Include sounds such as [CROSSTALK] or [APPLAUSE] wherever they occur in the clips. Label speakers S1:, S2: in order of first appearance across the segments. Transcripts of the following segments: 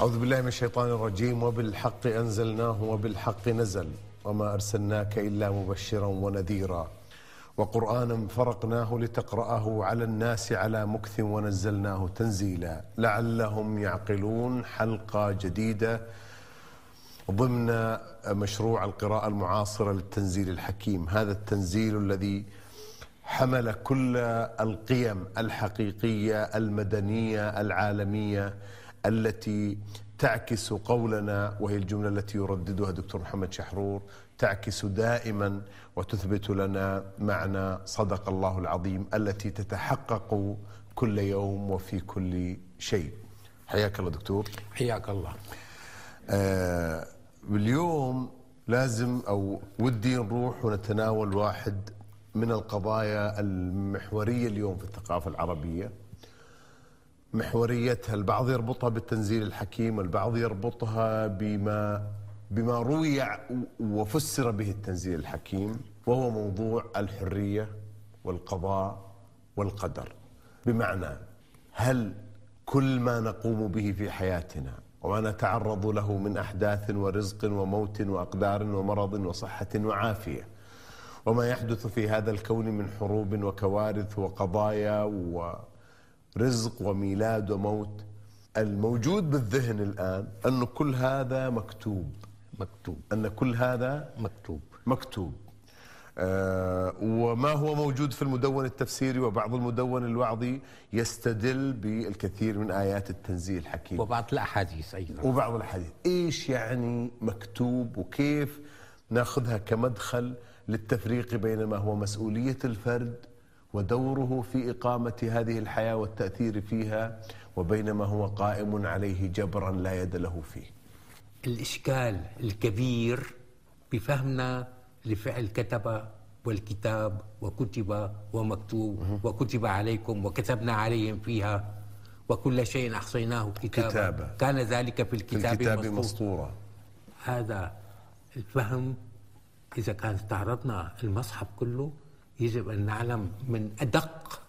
S1: أعوذ بالله من الشيطان الرجيم وبالحق أنزلناه وبالحق نزل وما أرسلناك إلا مبشرا ونذيرا وقرآنا فرقناه لتقرأه على الناس على مكث ونزلناه تنزيلا لعلهم يعقلون حلقة جديدة ضمن مشروع القراءة المعاصرة للتنزيل الحكيم هذا التنزيل الذي حمل كل القيم الحقيقية المدنية العالمية التي تعكس قولنا وهي الجملة التي يرددها دكتور محمد شحرور تعكس دائما وتثبت لنا معنى صدق الله العظيم التي تتحقق كل يوم وفي كل شيء حياك الله دكتور
S2: حياك الله
S1: آه اليوم لازم او ودي نروح ونتناول واحد من القضايا المحوريه اليوم في الثقافه العربيه محوريتها البعض يربطها بالتنزيل الحكيم والبعض يربطها بما بما روي وفسر به التنزيل الحكيم وهو موضوع الحريه والقضاء والقدر بمعنى هل كل ما نقوم به في حياتنا وما نتعرض له من احداث ورزق وموت واقدار ومرض وصحه وعافيه وما يحدث في هذا الكون من حروب وكوارث وقضايا و رزق وميلاد وموت الموجود بالذهن الآن أن كل هذا مكتوب
S2: مكتوب
S1: أن كل هذا
S2: مكتوب
S1: مكتوب آه وما هو موجود في المدون التفسيري وبعض المدون الوعظي يستدل بالكثير من آيات التنزيل الحكيم
S2: وبعض الأحاديث أيضا
S1: وبعض الحديث إيش يعني مكتوب وكيف ناخذها كمدخل للتفريق بين ما هو مسؤولية الفرد ودوره في إقامة هذه الحياة والتأثير فيها وبينما هو قائم عليه جبرا لا يد له فيه
S2: الإشكال الكبير بفهمنا لفعل كتب والكتاب وكتب ومكتوب وكتب عليكم وكتبنا عليهم فيها وكل شيء أحصيناه كتابا
S1: كتابا.
S2: كان ذلك في
S1: في
S2: الكتاب,
S1: الكتاب
S2: مسطورا.
S1: مسطورة
S2: هذا الفهم إذا كان استعرضنا المصحف كله يجب أن نعلم من أدق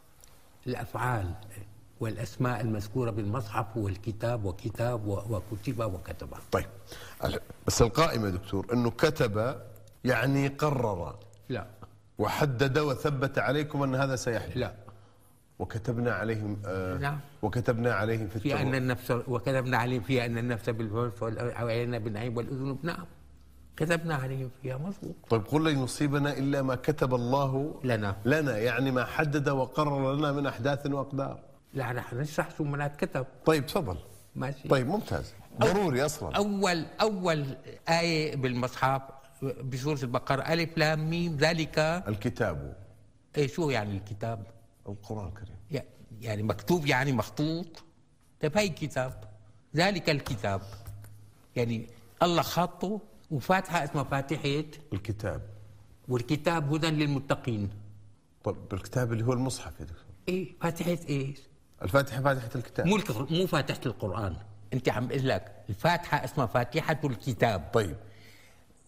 S2: الأفعال والأسماء المذكورة بالمصحف هو الكتاب وكتاب و- وكتب وكتب
S1: طيب ال- بس القائمة دكتور أنه كتب يعني قرر
S2: لا
S1: وحدد وثبت عليكم أن هذا سيحدث
S2: لا
S1: وكتبنا عليهم آه
S2: نعم.
S1: وكتبنا عليهم في
S2: في أن
S1: التوراة
S2: النفس وكتبنا عليهم فيها أن النفس بالفلس والعين بالنعيم والأذن بنعم كتبنا عليهم فيها مضبوط
S1: طيب قل لن يصيبنا إلا ما كتب الله
S2: لنا
S1: لنا يعني ما حدد وقرر لنا من أحداث وأقدار
S2: لا نحن نشرح شو ما كتب
S1: طيب تفضل
S2: ماشي
S1: طيب ممتاز ضروري اصلا
S2: أول أول آية بالمصحف بسورة البقرة ألف لام ميم ذلك
S1: الكتاب
S2: إيه شو يعني الكتاب؟
S1: القران الكريم
S2: ي- يعني مكتوب يعني مخطوط طيب هاي كتاب ذلك الكتاب يعني الله خاطه وفاتحة اسمها فاتحة
S1: الكتاب
S2: والكتاب هدى للمتقين
S1: طب طيب، الكتاب اللي هو المصحف يا دكتور
S2: إيه فاتحة إيه؟
S1: الفاتحه فاتحه الكتاب
S2: مو الكف- مو فاتحة القرآن أنت عم بقول لك الفاتحة اسمها فاتحة الكتاب
S1: طيب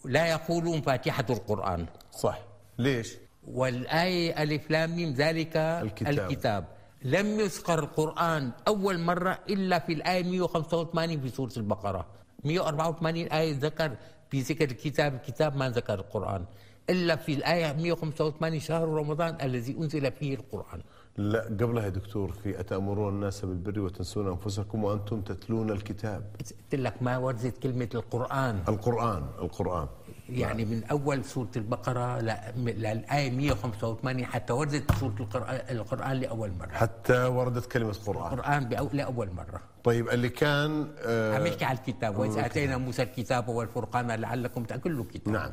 S2: لا يقولون فاتحة القرآن
S1: صح ليش؟
S2: والآية ألف لام ميم ذلك
S1: الكتاب.
S2: الكتاب, الكتاب لم يذكر القرآن أول مرة إلا في الآية 185 في سورة البقرة 184 آية ذكر في ذكر الكتاب الكتاب ما ذكر القرآن إلا في الآية 185 شهر رمضان الذي أنزل فيه القرآن
S1: لا قبلها يا دكتور في اتامرون الناس بالبر وتنسون انفسكم وانتم تتلون الكتاب
S2: قلت لك ما ورثت كلمة القرآن
S1: القران القران
S2: يعني من أول سورة البقرة ل- للآية 185 حتى ورثت سورة القرآن- القرآن لأول مرة
S1: حتى وردت كلمه قران
S2: القرآن بأو- لأول مرة
S1: طيب اللي كان آه
S2: عم يحكي على الكتاب واذا اتينا موسى الكتاب والفرقان لعلكم تاكلوا كتاب
S1: نعم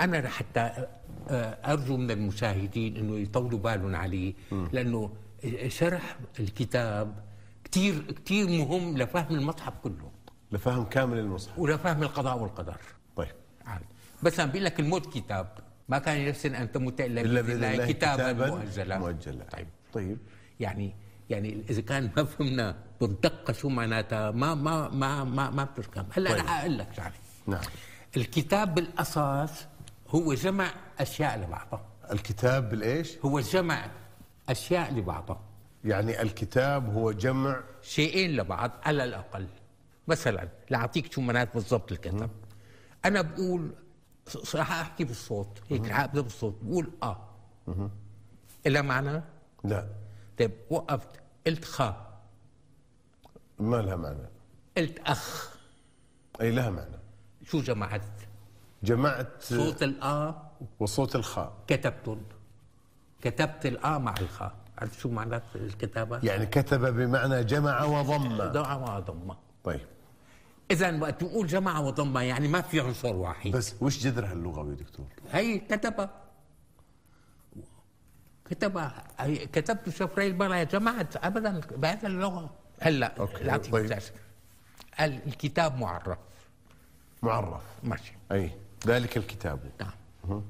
S2: انا حتى آه، ارجو من المشاهدين انه يطولوا بالهم عليه لانه شرح الكتاب كثير كثير مهم لفهم المصحف كله
S1: لفهم كامل المصحف
S2: ولفهم القضاء والقدر
S1: طيب
S2: عاد. بس عم بيقول لك الموت كتاب ما كان نفس ان تموت الا
S1: الا باذن الله
S2: كتابا مؤجلا
S1: مؤجلا
S2: طيب
S1: طيب
S2: يعني يعني اذا كان ما فهمنا بالدقه شو معناتها ما ما ما ما, ما بتركب هلا
S1: طيب.
S2: طيب. انا حقول لك يعني
S1: نعم
S2: الكتاب بالاساس هو جمع اشياء لبعضها
S1: الكتاب بالايش؟
S2: هو جمع اشياء لبعضها
S1: يعني الكتاب هو جمع
S2: شيئين لبعض على الاقل مثلا لاعطيك شو معناته بالضبط الكتاب انا بقول ص- راح احكي بالصوت هيك راح ابدا بالصوت بقول اه إلا معنى
S1: لا
S2: طيب وقفت قلت خا
S1: ما لها معنى
S2: قلت اخ
S1: اي لها معنى
S2: شو جمعت
S1: جمعت
S2: صوت الاه
S1: وصوت الخاء
S2: كتبتن كتبت الاه مع الخاء عرفت شو معنات الكتابه
S1: يعني كتب بمعنى جمع وضم
S2: ضاع وضمه
S1: طيب
S2: اذا وقت نقول جمع وضمه يعني ما في عنصر واحد
S1: بس وش جذرها اللغوي دكتور؟
S2: هي كتبة كتبة هي كتبت شفري المرأة يا جماعة أبدا بهذا اللغة هلا
S1: أوكي،
S2: لا تنساش.
S1: طيب.
S2: قال الكتاب معرف
S1: معرف
S2: ماشي
S1: اي ذلك الكتاب
S2: نعم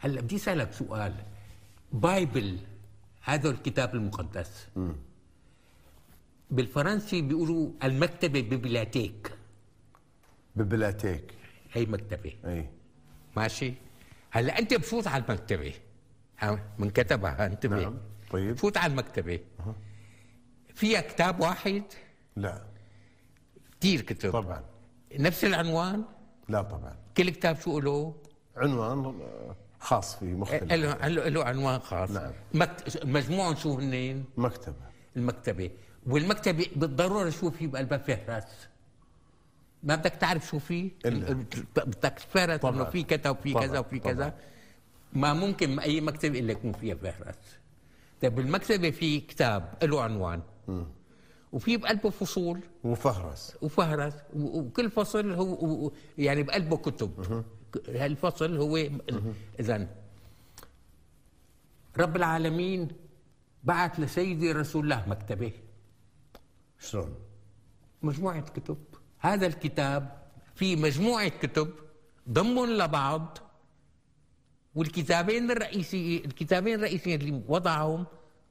S2: هلا بدي اسالك سؤال بايبل هذا الكتاب المقدس بالفرنسي بيقولوا المكتبة ببلاتيك
S1: ببلاتيك
S2: هي مكتبة
S1: اي
S2: ماشي هلا انت بفوت على المكتبه ها، من كتبها انتبه
S1: نعم، طيب.
S2: فوت على المكتبه فيها كتاب واحد
S1: لا
S2: كثير كتب
S1: طبعا
S2: نفس العنوان
S1: لا طبعا
S2: كل كتاب شو له؟
S1: عنوان آه، خاص فيه مختلف
S2: له له عنوان خاص
S1: نعم.
S2: مكت... مجموعهم شو هن
S1: مكتبه
S2: المكتبه والمكتبه بالضروره شو في بقلبها فهرس ما بدك تعرف شو في
S1: إلا.
S2: بدك تفرت
S1: طبعاً.
S2: انه في كذا وفي
S1: طبعاً،
S2: كذا وفي
S1: طبعاً.
S2: كذا ما ممكن اي مكتبه الا يكون فيها فهرس طيب بالمكتبه في كتاب له عنوان وفي بقلبه فصول
S1: وفهرس
S2: وفهرس و- وكل فصل هو و- و- يعني بقلبه كتب ك- هالفصل هو اذا رب العالمين بعث لسيدي رسول الله مكتبه
S1: شلون؟
S2: مجموعة كتب هذا الكتاب في مجموعة كتب ضمن لبعض والكتابين الرئيسي الكتابين الرئيسيين اللي وضعهم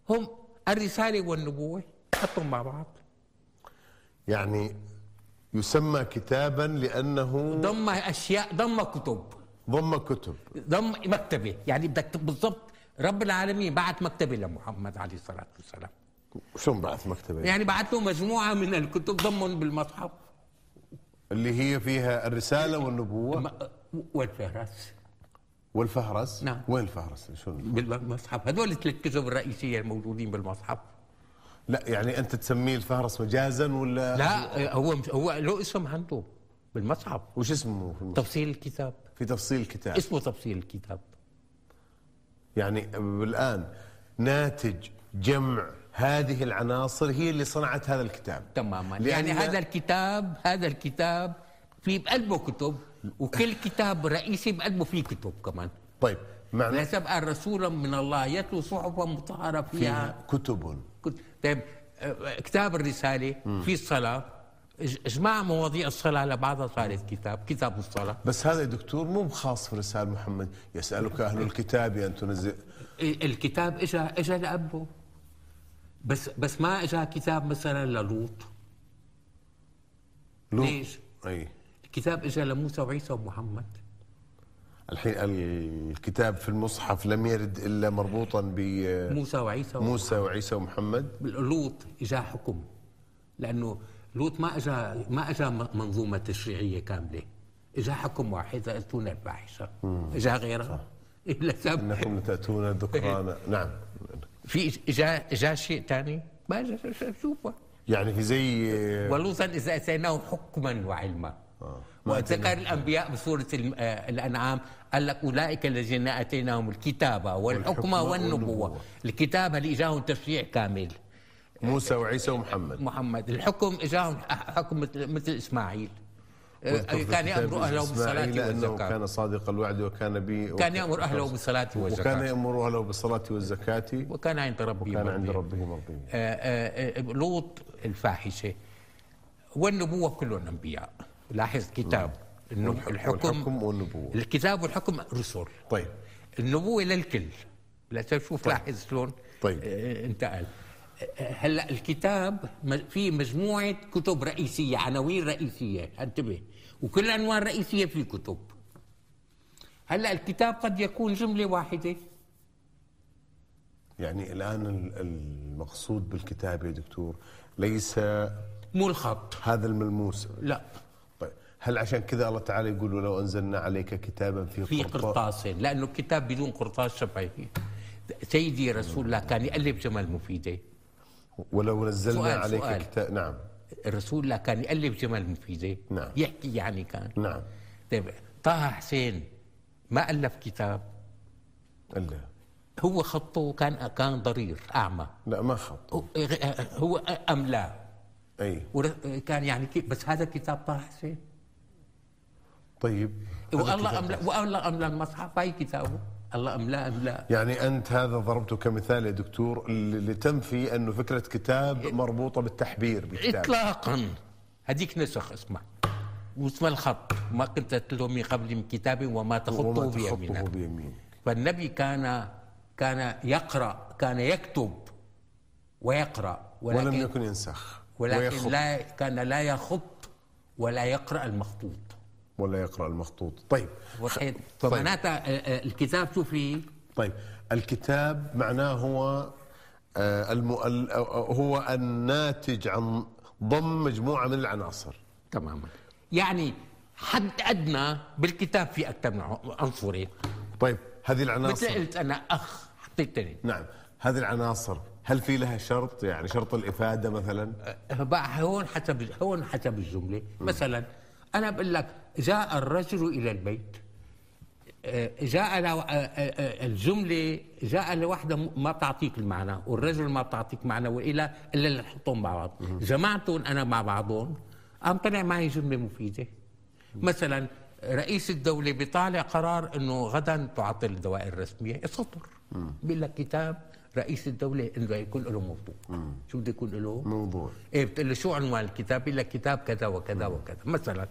S2: هم الرسالة والنبوة حطهم مع بعض
S1: يعني يسمى كتابا لانه
S2: ضم أشياء ضم كتب
S1: ضم كتب
S2: ضم مكتبة يعني بدك بالضبط رب العالمين بعت مكتبة لمحمد عليه الصلاة والسلام
S1: شلون بعث مكتبه؟
S2: يعني بعت له مجموعة من الكتب ضمهم بالمصحف
S1: اللي هي فيها الرساله والنبوه
S2: م- والفهرس
S1: والفهرس
S2: نعم.
S1: وين الفهرس؟ شلون؟
S2: بالمصحف هذول الثلاث كتب الرئيسية الموجودين بالمصحف
S1: لا يعني انت تسميه الفهرس مجازا ولا
S2: لا هو مش هو له اسم عنده بالمصحف
S1: وش اسمه في, المصحف؟
S2: تفصيل الكتاب
S1: في تفصيل الكتاب
S2: اسمه تفصيل الكتاب
S1: يعني الان ناتج جمع هذه العناصر هي اللي صنعت هذا الكتاب
S2: تماما
S1: لأن-
S2: يعني هذا الكتاب هذا الكتاب في بقلبه كتب وكل كتاب رئيسي بقلبه فيه كتب كمان
S1: طيب معنى
S2: ليس بقى رسولا من الله يتلو صحفا مطهره فيها
S1: فيها كتب
S2: كت- طيب آه، كتاب الرساله في الصلاه إج- اجماع مواضيع الصلاه لبعضها صارت كتاب كتاب الصلاه
S1: بس هذا يا دكتور مو بخاص في رسالة محمد يسألك أهل الكتاب أن تنزل
S2: الكتاب اجى اجى لابه بس بس ما اجى كتاب مثلا للوط
S1: لوط.
S2: ليش؟
S1: أي
S2: الكتاب اجى لموسى وعيسى ومحمد
S1: الحين الكتاب في المصحف لم يرد إلا مربوطا بموسى
S2: موسى وعيسى و-
S1: وعيسى ومحمد
S2: لوط اجى حكم لانه لوط ما اجى ما اجى م- منظومه تشريعيه كامله اجى حكم واحد اتونا الفاحشه اجى غيرها الا سب
S1: إنكم لتأتون الذكران
S2: إيه.
S1: نعم
S2: في إج- اجى اجى شيء ثاني ما اجى شيء- شيء- شوفه
S1: يعني في زي
S2: ولوطا اذا اتيناه حكما وعلما
S1: آه.
S2: وذكر الانبياء بسوره الم- آه، الانعام قال لك اولئك الذين اتيناهم الكتابه والحكمه
S1: والحكمة
S2: والنبوه
S1: والنبوة.
S2: الكتابه اللي اجاهم تشريع كامل
S1: موسى وعيسى ومحمد
S2: محمد الحكم اجاهم حكم مثل مثل اسماعيل آه، كان يامر اهله
S1: إسماعيل
S2: بالصلاه
S1: أنه
S2: والزكاه
S1: كان صادق الوعد وكان بي
S2: كان يامر اهله بالصلاه
S1: وكان
S2: والزكاه
S1: يأمر أهله بالصلاة والزكاة
S2: وكان عند ربه
S1: كان عند
S2: مرضيا.
S1: ربه مرضيا
S2: آه، آه، آه، لوط الفاحشه والنبوه كلهم انبياء لاحظ كتاب النب-
S1: نعم. والحكم- والحكم والنبوة.
S2: الكتاب والحكم رسل
S1: طيب
S2: النبوه للكل لا تشوف لاحظ شلون
S1: طيب.
S2: آه، انتقل آه، هلا الكتاب م- في مجموعه كتب رئيسيه عناوين رئيسيه انتبه وكل عنوان رئيسيه في كتب هلا الكتاب قد يكون جمله واحده
S1: يعني الآن ال- المقصود بالكتاب يا دكتور ليس
S2: مو الخط
S1: هذا الملموس
S2: لا
S1: طيب هل عشان كذا الله تعالى يقول ولو انزلنا عليك كتابا في,
S2: في قرطاس لانه الكتاب بدون قرطاس شفهي سيدي رسول الله كان يقلب جمل مفيده
S1: ولو نزلنا
S2: سؤال-
S1: عليك
S2: سؤال.
S1: كتاب نعم
S2: الرسول الله كان يقلب جمل مفيده
S1: نعم.
S2: يحكي يعني كان
S1: نعم
S2: طيب طه حسين ما الف كتاب
S1: الا
S2: هو خطه كان كان ضرير اعمى
S1: لا ما خط
S2: هو- هو املا
S1: اي
S2: ور- كان يعني كي- بس هذا كتاب طه حسين
S1: طيب هذا
S2: والله
S1: كتاب.
S2: املا والله املا المصحف هاي كتابه الله املا املا
S1: يعني انت هذا ضربته كمثال يا دكتور ل- لتنفي انه فكره كتاب
S2: إيه.
S1: مربوطه بالتحبير بالكتاب
S2: اطلاقا هذيك نسخ اسمها واسمها الخط ما كنت تتلو من قبل من كتاب وما تخطه
S1: وما تخطه
S2: بيمينك
S1: بيمين
S2: فالنبي كان كان يقرا كان يكتب ويقرا ولكن
S1: ولم يكن ينسخ
S2: ولكن
S1: ويخط
S2: لا كان لا يخط ولا يقرا المخطوط
S1: ولا يقرا المخطوط طيب
S2: وحيد
S1: طيب.
S2: فمعناتها آه، آه، الكتاب شو فيه؟
S1: طيب الكتاب معناه هو آه، المو... ال- آه، هو الناتج عن ضم مجموعه من العناصر
S2: تماما يعني حد ادنى بالكتاب في اكثر من ع- عنصرين
S1: طيب هذه
S2: مثل إيه؟
S1: العناصر
S2: قلت انا اخ حطيت تاني
S1: نعم هذه العناصر هل في لها شرط يعني شرط الافاده مثلا
S2: بقى هون حسب هون حسب الجمله مثلا انا بقول لك جاء الرجل الى البيت آه، جاء لو- آه، آه، آه، الجمله جاء لوحده ما بتعطيك المعنى والرجل ما بتعطيك معنى والى الا اللي حطهم مع بعض جمعتهم انا مع بعضهم قام طلع معي جمله مفيده مثلا رئيس الدولة بيطالع قرار انه غدا تعطل الدوائر الرسمية سطر بيقول لك كتاب رئيس الدولة انه يكون له موضوع شو بده يكون له؟
S1: موضوع
S2: ايه بتقول له شو عنوان الكتاب؟ بيقول لك كتاب كذا وكذا وكذا مثلا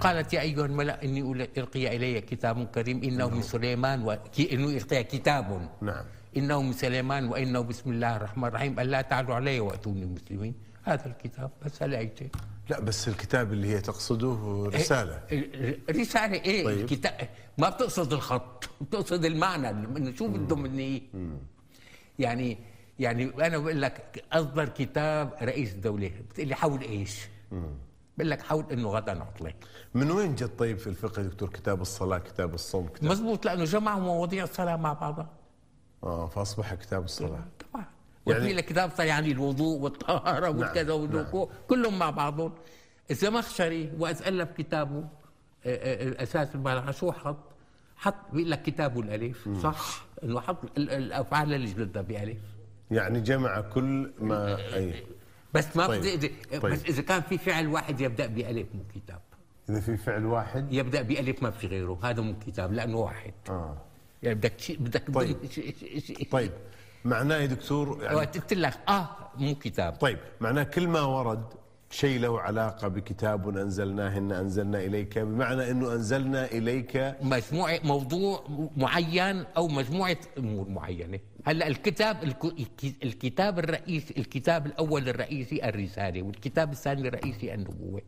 S2: قالت يا ايها الملا اني أول- القي الي كتاب كريم انه من سليمان و... كي- انه القي كتاب
S1: نعم.
S2: انه من سليمان وانه بسم الله الرحمن الرحيم الا تعلوا علي واتوني مسلمين هذا الكتاب بس هل أيتين.
S1: لا بس الكتاب اللي هي تقصده رساله
S2: إيه، رسالة
S1: طيب.
S2: ايه طيب. الكتاب ما بتقصد الخط بتقصد المعنى انه شو بده مني يعني يعني انا بقول لك اصدر كتاب رئيس الدولة بتقول لي حول ايش؟ بقول لك حول انه غدا عطلة
S1: من وين جت طيب في الفقه يا دكتور كتاب الصلاه كتاب الصوم كتاب
S2: مزبوط لانه جمعوا مواضيع الصلاة مع بعضها
S1: اه فاصبح كتاب الصلاه
S2: طبعا
S1: يعني- نعم،
S2: يعني لك كتاب صار يعني الوضوء والطهاره والكذا والوقوع كلهم مع بعضهم الزمخشري وقت الف كتابه آه، آه، الاساس المالحه شو حط؟ حط بيقول لك كتابه الالف صح انه حط ال- الافعال اللي جلدها بالف
S1: يعني جمع كل ما اي
S2: بس ما
S1: طيب.
S2: بدي
S1: طيب.
S2: بس اذا كان في فعل واحد يبدا بالف مو كتاب
S1: اذا في فعل واحد
S2: يبدا بالف ما في غيره هذا مو كتاب لانه واحد
S1: اه
S2: يعني بدك شيء بدك
S1: طيب.
S2: شيء- شيء- شيء-
S1: طيب معناه يا دكتور يعني
S2: وقت قلت لك اه مو كتاب
S1: طيب معناه كل ما ورد شيء له علاقة بكتاب أنزلناه إن أنزلنا إليك بمعنى أنه أنزلنا إليك
S2: مجموعة موضوع معين أو مجموعة أمور معينة هلا الكتاب الك- الكتاب الرئيسي الكتاب الأول الرئيسي الرسالة والكتاب الثاني الرئيسي النبوة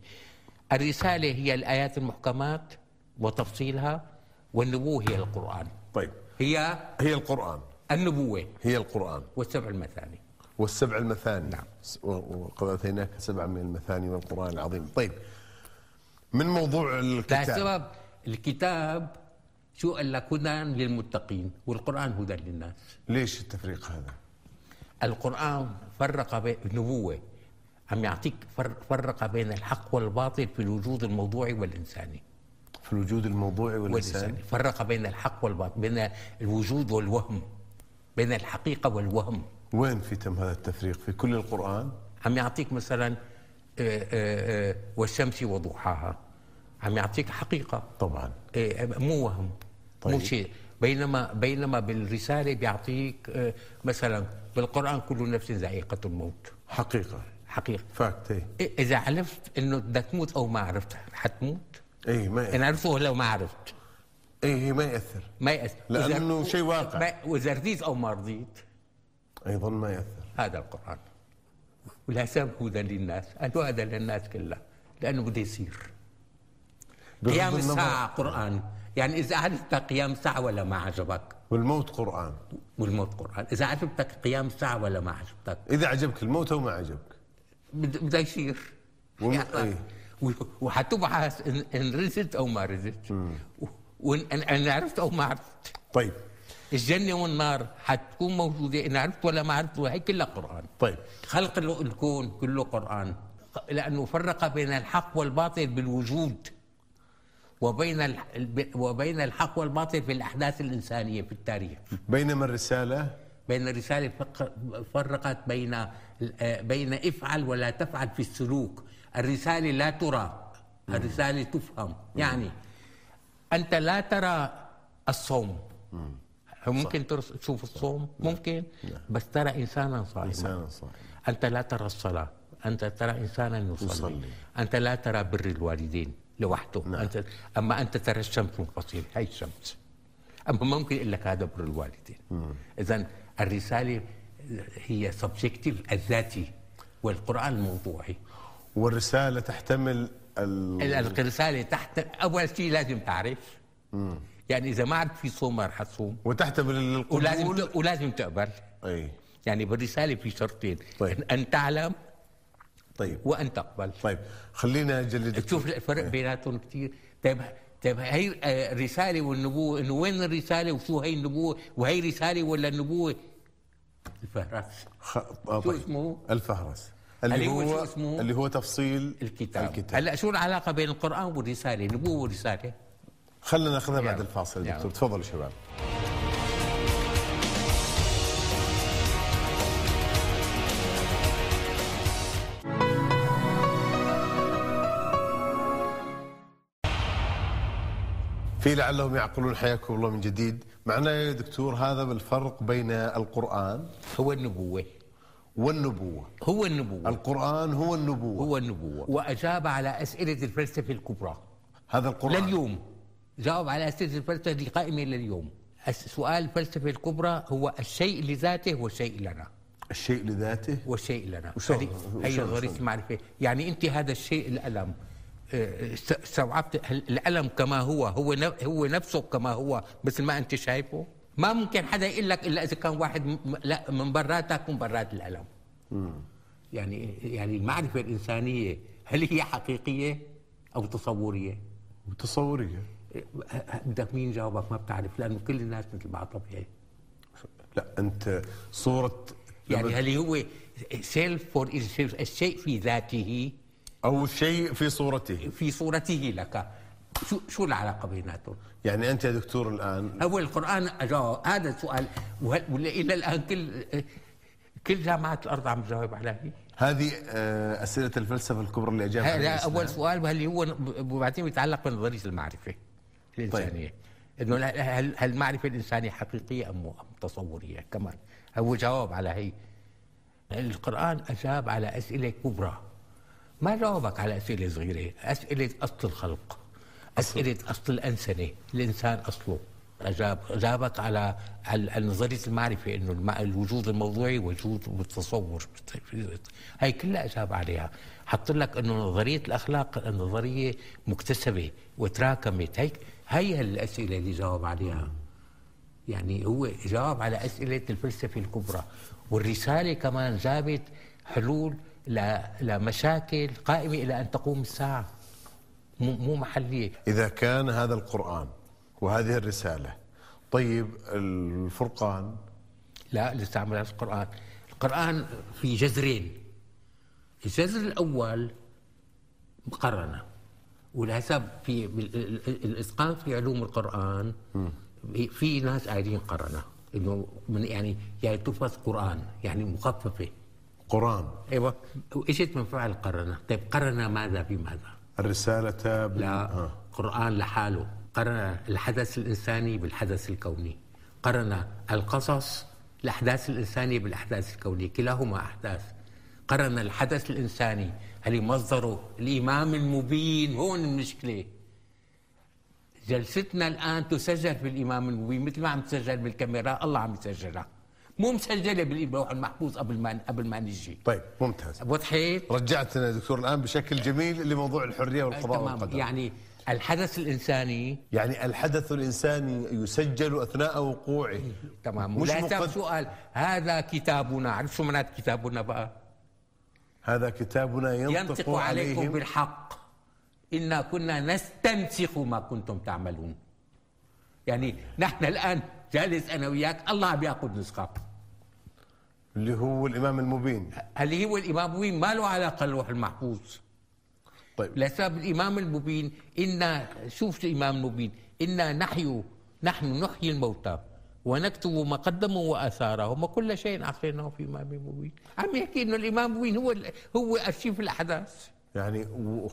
S2: الرسالة هي الآيات المحكمات وتفصيلها والنبوة هي القرآن
S1: طيب
S2: هي
S1: هي القرآن
S2: النبوة
S1: هي القرآن
S2: والسبع المثاني
S1: والسبع المثاني نعم وقد أتيناك سبعا من المثاني والقرآن العظيم طيب من موضوع الكتاب
S2: لسبب الكتاب شو قال لك هدى للمتقين والقرآن هدى للناس
S1: ليش التفريق هذا
S2: القرآن فرق بين النبوة عم يعطيك فرق, فرق بين الحق والباطل في الوجود الموضوعي والإنساني
S1: في الوجود الموضوعي والإنساني
S2: والإنساني فرق بين الحق والباطل بين الوجود والوهم بين الحقيقة والوهم
S1: وين في تم هذا التفريق في كل القرآن
S2: عم يعطيك مثلا آه، آه، آه، والشمس وضحاها عم يعطيك حقيقة
S1: طبعا
S2: إيه، مو وهم
S1: طيب.
S2: طيب. مو شيء بينما بينما بالرسالة بيعطيك آه، مثلا بالقرآن كل نفس ذائقة الموت
S1: حقيقة إيه.
S2: حقيقة
S1: فاكت اي
S2: إذا عرفت إنه بدك تموت أو ما عرفت حتموت
S1: اي إيه، ما يأثر.
S2: إن عرفت ولا ما عرفت
S1: اي ما يأثر
S2: ما يأثر
S1: لأنه شيء واقع.
S2: ما- وإذا رضيت أو ما رضيت
S1: أيضا ما يأثر
S2: هذا القرآن والحساب هدى للناس قالوا هذا للناس كلها لأنه بده يصير
S1: بغض
S2: قيام
S1: النظر-
S2: الساعة قرآن يعني إذا عرفت قيام الساعة ولا ما عجبك
S1: والموت قرآن
S2: والموت قرآن إذا عجبتك قيام الساعة ولا ما عجبتك
S1: إذا عجبك الموت أو ما عجبك
S2: بد- بده يصير
S1: وم-
S2: يا أخي.
S1: إيه.
S2: و- وحتبحث ان ان رزت او ما رزت و- وان إن- إن عرفت او ما عرفت
S1: طيب
S2: الجنه والنار حتكون موجوده ان عرفت ولا ما عرفت وهي كلها قران
S1: طيب
S2: خلق ال- الكون كله قرآن لأنه فرق بين الحق والباطل بالوجود وبين ال- ب- وبين الحق والباطل في الأحداث الإنسانية في التاريخ
S1: بينما الرساله
S2: بين الرسالة فق- فرقت بين ال- آه، بين افعل ولا تفعل في السلوك الرسالة لا ترى الرسالة تفهم يعني أنت لا ترى الصوم ممكن ترس- تشوف الصوم ممكن بس ترى إنسانا صائما
S1: انسان صحيح
S2: أنت لا ترى الصلاة أنت ترى إنسانا يصلي,
S1: يصلي.
S2: أنت لا ترى بر الوالدين لوحده
S1: نعم.
S2: أنت أما أنت ترى الشمس منفصل هاي الشمس أما ما ممكن إلا هذا بر الوالدين إذا الرسالة هي سبجكتيف الذاتي والقرآن الموضوعي
S1: والرساله تحتمل ال...
S2: ال- الرسالة تحت أول شيء لازم تعرف يعني إذا ما عرفت في صوم ما رح تصوم
S1: وتحتمل القبول
S2: ولازم ت- ولازم تقبل
S1: اي
S2: يعني بالرسالة في شرطين
S1: طيب.
S2: أن- أن تعلم
S1: طيب
S2: وأن تقبل
S1: طيب خلينا اجل
S2: تشوف الفرق بيناتهم كثير طيب طيب هي آه، الرساله والنبوه انه وين الرساله وشو هي النبوه وهي رساله ولا النبوه الفهرس
S1: خ... آه
S2: شو
S1: طيب.
S2: اسمه؟
S1: الفهرس
S2: اللي
S1: اللي
S2: هو شو
S1: هو
S2: اسمه؟
S1: اللي هو تفصيل
S2: الكتاب,
S1: الكتاب
S2: هلا شو العلاقه بين القران والرساله النبوه والرساله
S1: خلينا ناخذها بعد
S2: يلا.
S1: الفاصل يا
S2: يلا.
S1: دكتور تفضلوا شباب في لعلهم يعقلون حياكم الله من جديد معنا يا دكتور هذا بالفرق بين القرآن
S2: هو النبوه
S1: والنبوة
S2: هو النبوه
S1: القرآن هو النبوة
S2: هو النبوه واجاب على اسئله الفلسفه الكبرى
S1: هذا القرآن
S2: لليوم جاوب على اسئله الفلسفه اللي قائمه لليوم السؤال الفلسفي الكبرى هو الشيء لذاته والشيء لنا
S1: الشيء لذاته
S2: وشيء لنا
S1: وشلون-
S2: هذه هي
S1: وشلون-
S2: غريزه المعرفه يعني انت هذا الشيء الالم آه، است- استوعبت هل- الالم كما هو هو ن- هو نفسه كما هو مثل ما انت شايفه ما ممكن حدا يقول لك الا اذا كان واحد م- م- لا من براتك من برات الالم يعني يعني المعرفه الانسانيه هل هي حقيقيه او تصوريه؟
S1: تصورية
S2: آه، آه، بدك مين جاوبك ما بتعرف لانه كل الناس مثل بعض طبيعي
S1: لا أنت صورة
S2: يعني هل هو سيلف فور الشيء في ذاته
S1: أو الشيء في صورته
S2: في صورته لك شو شو العلاقه بيناتهم؟
S1: يعني أنت يا دكتور الآن
S2: اول القران أجا- هذا السؤال وهل- ولا الى الان كل كل جامعات الارض عم تجاوب عليه
S1: هذه آه، أسئلة الفلسفة الكبرى اللي أجاب
S2: هذا
S1: عنها
S2: اول
S1: الإسلام.
S2: سؤال وهل هو وبعدين بيتعلق بنظريه المعرفه الانسانيه انه لا- هل هل المعرفه الانسانيه حقيقيه ام أم تصوريه كمان هو جواب على هي القران اجاب على اسئله كبرى ما جاوبك على اسئله صغيره اسئله اصل الخلق اسئله اصل الانسنه الانسان اصله أجاب جابك على على على نظرية المعرفة إنه الم- الوجود الموضوعي وجود بالتصور هاي كلها أجاب عليها حط لك إنه نظرية الأخلاق نظرية مكتسبة وتراكمت هيك هي الأسئلة اللي جاوب عليها يعني هو جاوب على أسئلة الفلسفة الكبرى والرسالة كمان جابت حلول ل- لمشاكل قائمة إلى أن تقوم الساعة مو مو محلية
S1: إذا كان هذا القرآن وهذه الرسالة طيب الفرقان
S2: لا لسه عم بلش القرآن القرآن في جذرين الجذر الأول مقارنة ولحسب في بال- ال- ال- الإتقان في علوم القرآن في ناس قاعدين قرنة إنه من يعني يعني تفرض قرآن يعني مخففة
S1: قرآن
S2: ايوه اجت من فعل قرنه، طيب قرن ماذا بماذا؟
S1: الرسالة بال-
S2: لا
S1: آه.
S2: قرآن لحاله، قرن الحدث الانساني بالحدث الكوني، قرن القصص الاحداث الانسانيه بالاحداث الكونيه، كلاهما احداث. قرن الحدث الانساني اللي مصدره الامام المبين هون المشكله. جلستنا الان تسجل في الامام المبين مثل ما عم تسجل بالكاميرا الله عم يسجلها. مو مسجله باللوح المحفوظ قبل ما قبل ما نجي.
S1: طيب ممتاز
S2: وضحت؟
S1: رجعتنا يا دكتور الآن بشكل جميل لموضوع الحرية والقضاء
S2: تمام
S1: والقدر
S2: يعني الحدث الانساني
S1: يعني الحدث الإنساني يسجل أثناء وقوعه
S2: تمام
S1: مش
S2: ولا
S1: مقد-
S2: مقد... سؤال هذا كتابنا عرفت شو معنات كتابنا بقى
S1: هذا كتابنا ينطق,
S2: ينطق عليكم
S1: عليهم
S2: بالحق إنا كنا نستنسخ ما كنتم تعملون يعني نحن الآن جالس أنا وياك الله بيأخذ نسخة
S1: اللي هو الامام المبين
S2: هل هو الإماموي ما له علاقة اللوح المحفوظ
S1: طيب
S2: لسبب الإمام المبين إنا شوف الإمام المبين إنا نحيو نحن نحيي الموتى ونكتب ما قدموا وآثارهم وكل شيء أخرناه في إمام مبين عم يحكي إنه الإمام المبين هو هو أرشيف الأحداث
S1: يعني و-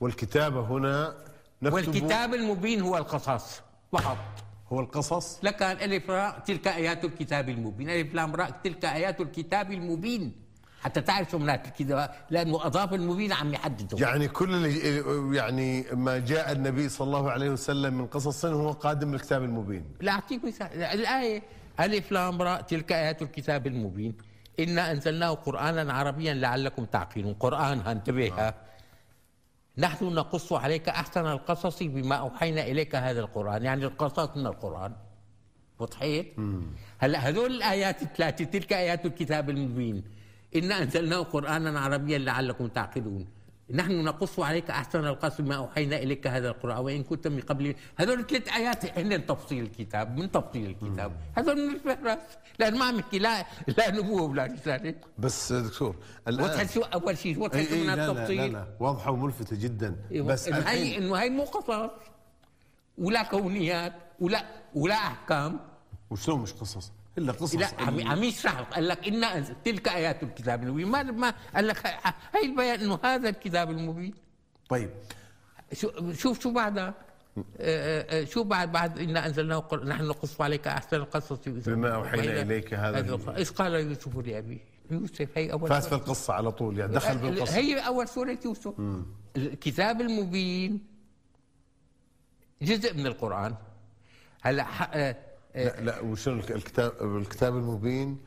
S1: والكتابه هنا نكتب
S2: والكتاب المبين هو القصص فقط
S1: هو القصص
S2: لك الف راء تلك ايات الكتاب المبين الف لام راء تلك ايات الكتاب المبين حتى تعرف شو معنات الكتاب لانه اضاف المبين عم يحدده
S1: يعني كل اللي- يعني ما جاء النبي صلى الله عليه وسلم من قصص هو قادم من الكتاب المبين
S2: لا اعطيك مثال الايه الف لام راء تلك ايات الكتاب المبين انا انزلناه قرانا عربيا لعلكم تعقلون قران انتبه نحن نقص عليك احسن القصص بما اوحينا اليك هذا القران يعني القصص من القران وضحيت هلا هذول الايات الثلاثه تلك ايات الكتاب المبين انا انزلناه قرانا عربيا لعلكم تعقلون نحن نقص عليك احسن القصص بما اوحينا اليك هذا القران وان كنت من قبل هذول ثلاث ايات هن تفصيل الكتاب من تفصيل الكتاب هذول من الفهرس لان ما عم يحكي لا لا نبوه ولا رساله
S1: بس دكتور
S2: وضحت
S1: الان
S2: شو اول شيء
S1: اي
S2: وضحت
S1: اي
S2: من
S1: إيه، لا لا, لا
S2: التفصيل إيه،
S1: لا واضحه وملفته جدا بس
S2: بس هي
S1: الحين
S2: انه هي مو قصص ولا كونيات ولا ولا احكام
S1: وشلون مش قصص؟ الا قصص
S2: لا عم عم يشرح قال لك ان أنزل- تلك ايات الكتاب المبين ما ما قال لك هي- هي البيان انه هذا الكتاب المبين
S1: طيب
S2: شو- شوف شو بعدها آه، آه، شو بعد بعد انا انزلناه قر- نحن نقص عليك احسن القصص
S1: بما أوحينا إليك هذا
S2: القرآن. اذ قال يوسف لابيه يوسف هي اول
S1: فات
S2: سورة.
S1: في القصه على طول يعني دخل بالقصه
S2: هي اول سوره يوسف الكتاب المبين جزء من القران هلا ح- آه،
S1: لا
S2: آه،
S1: لا وشنو الك- الكتاب الكتاب المبين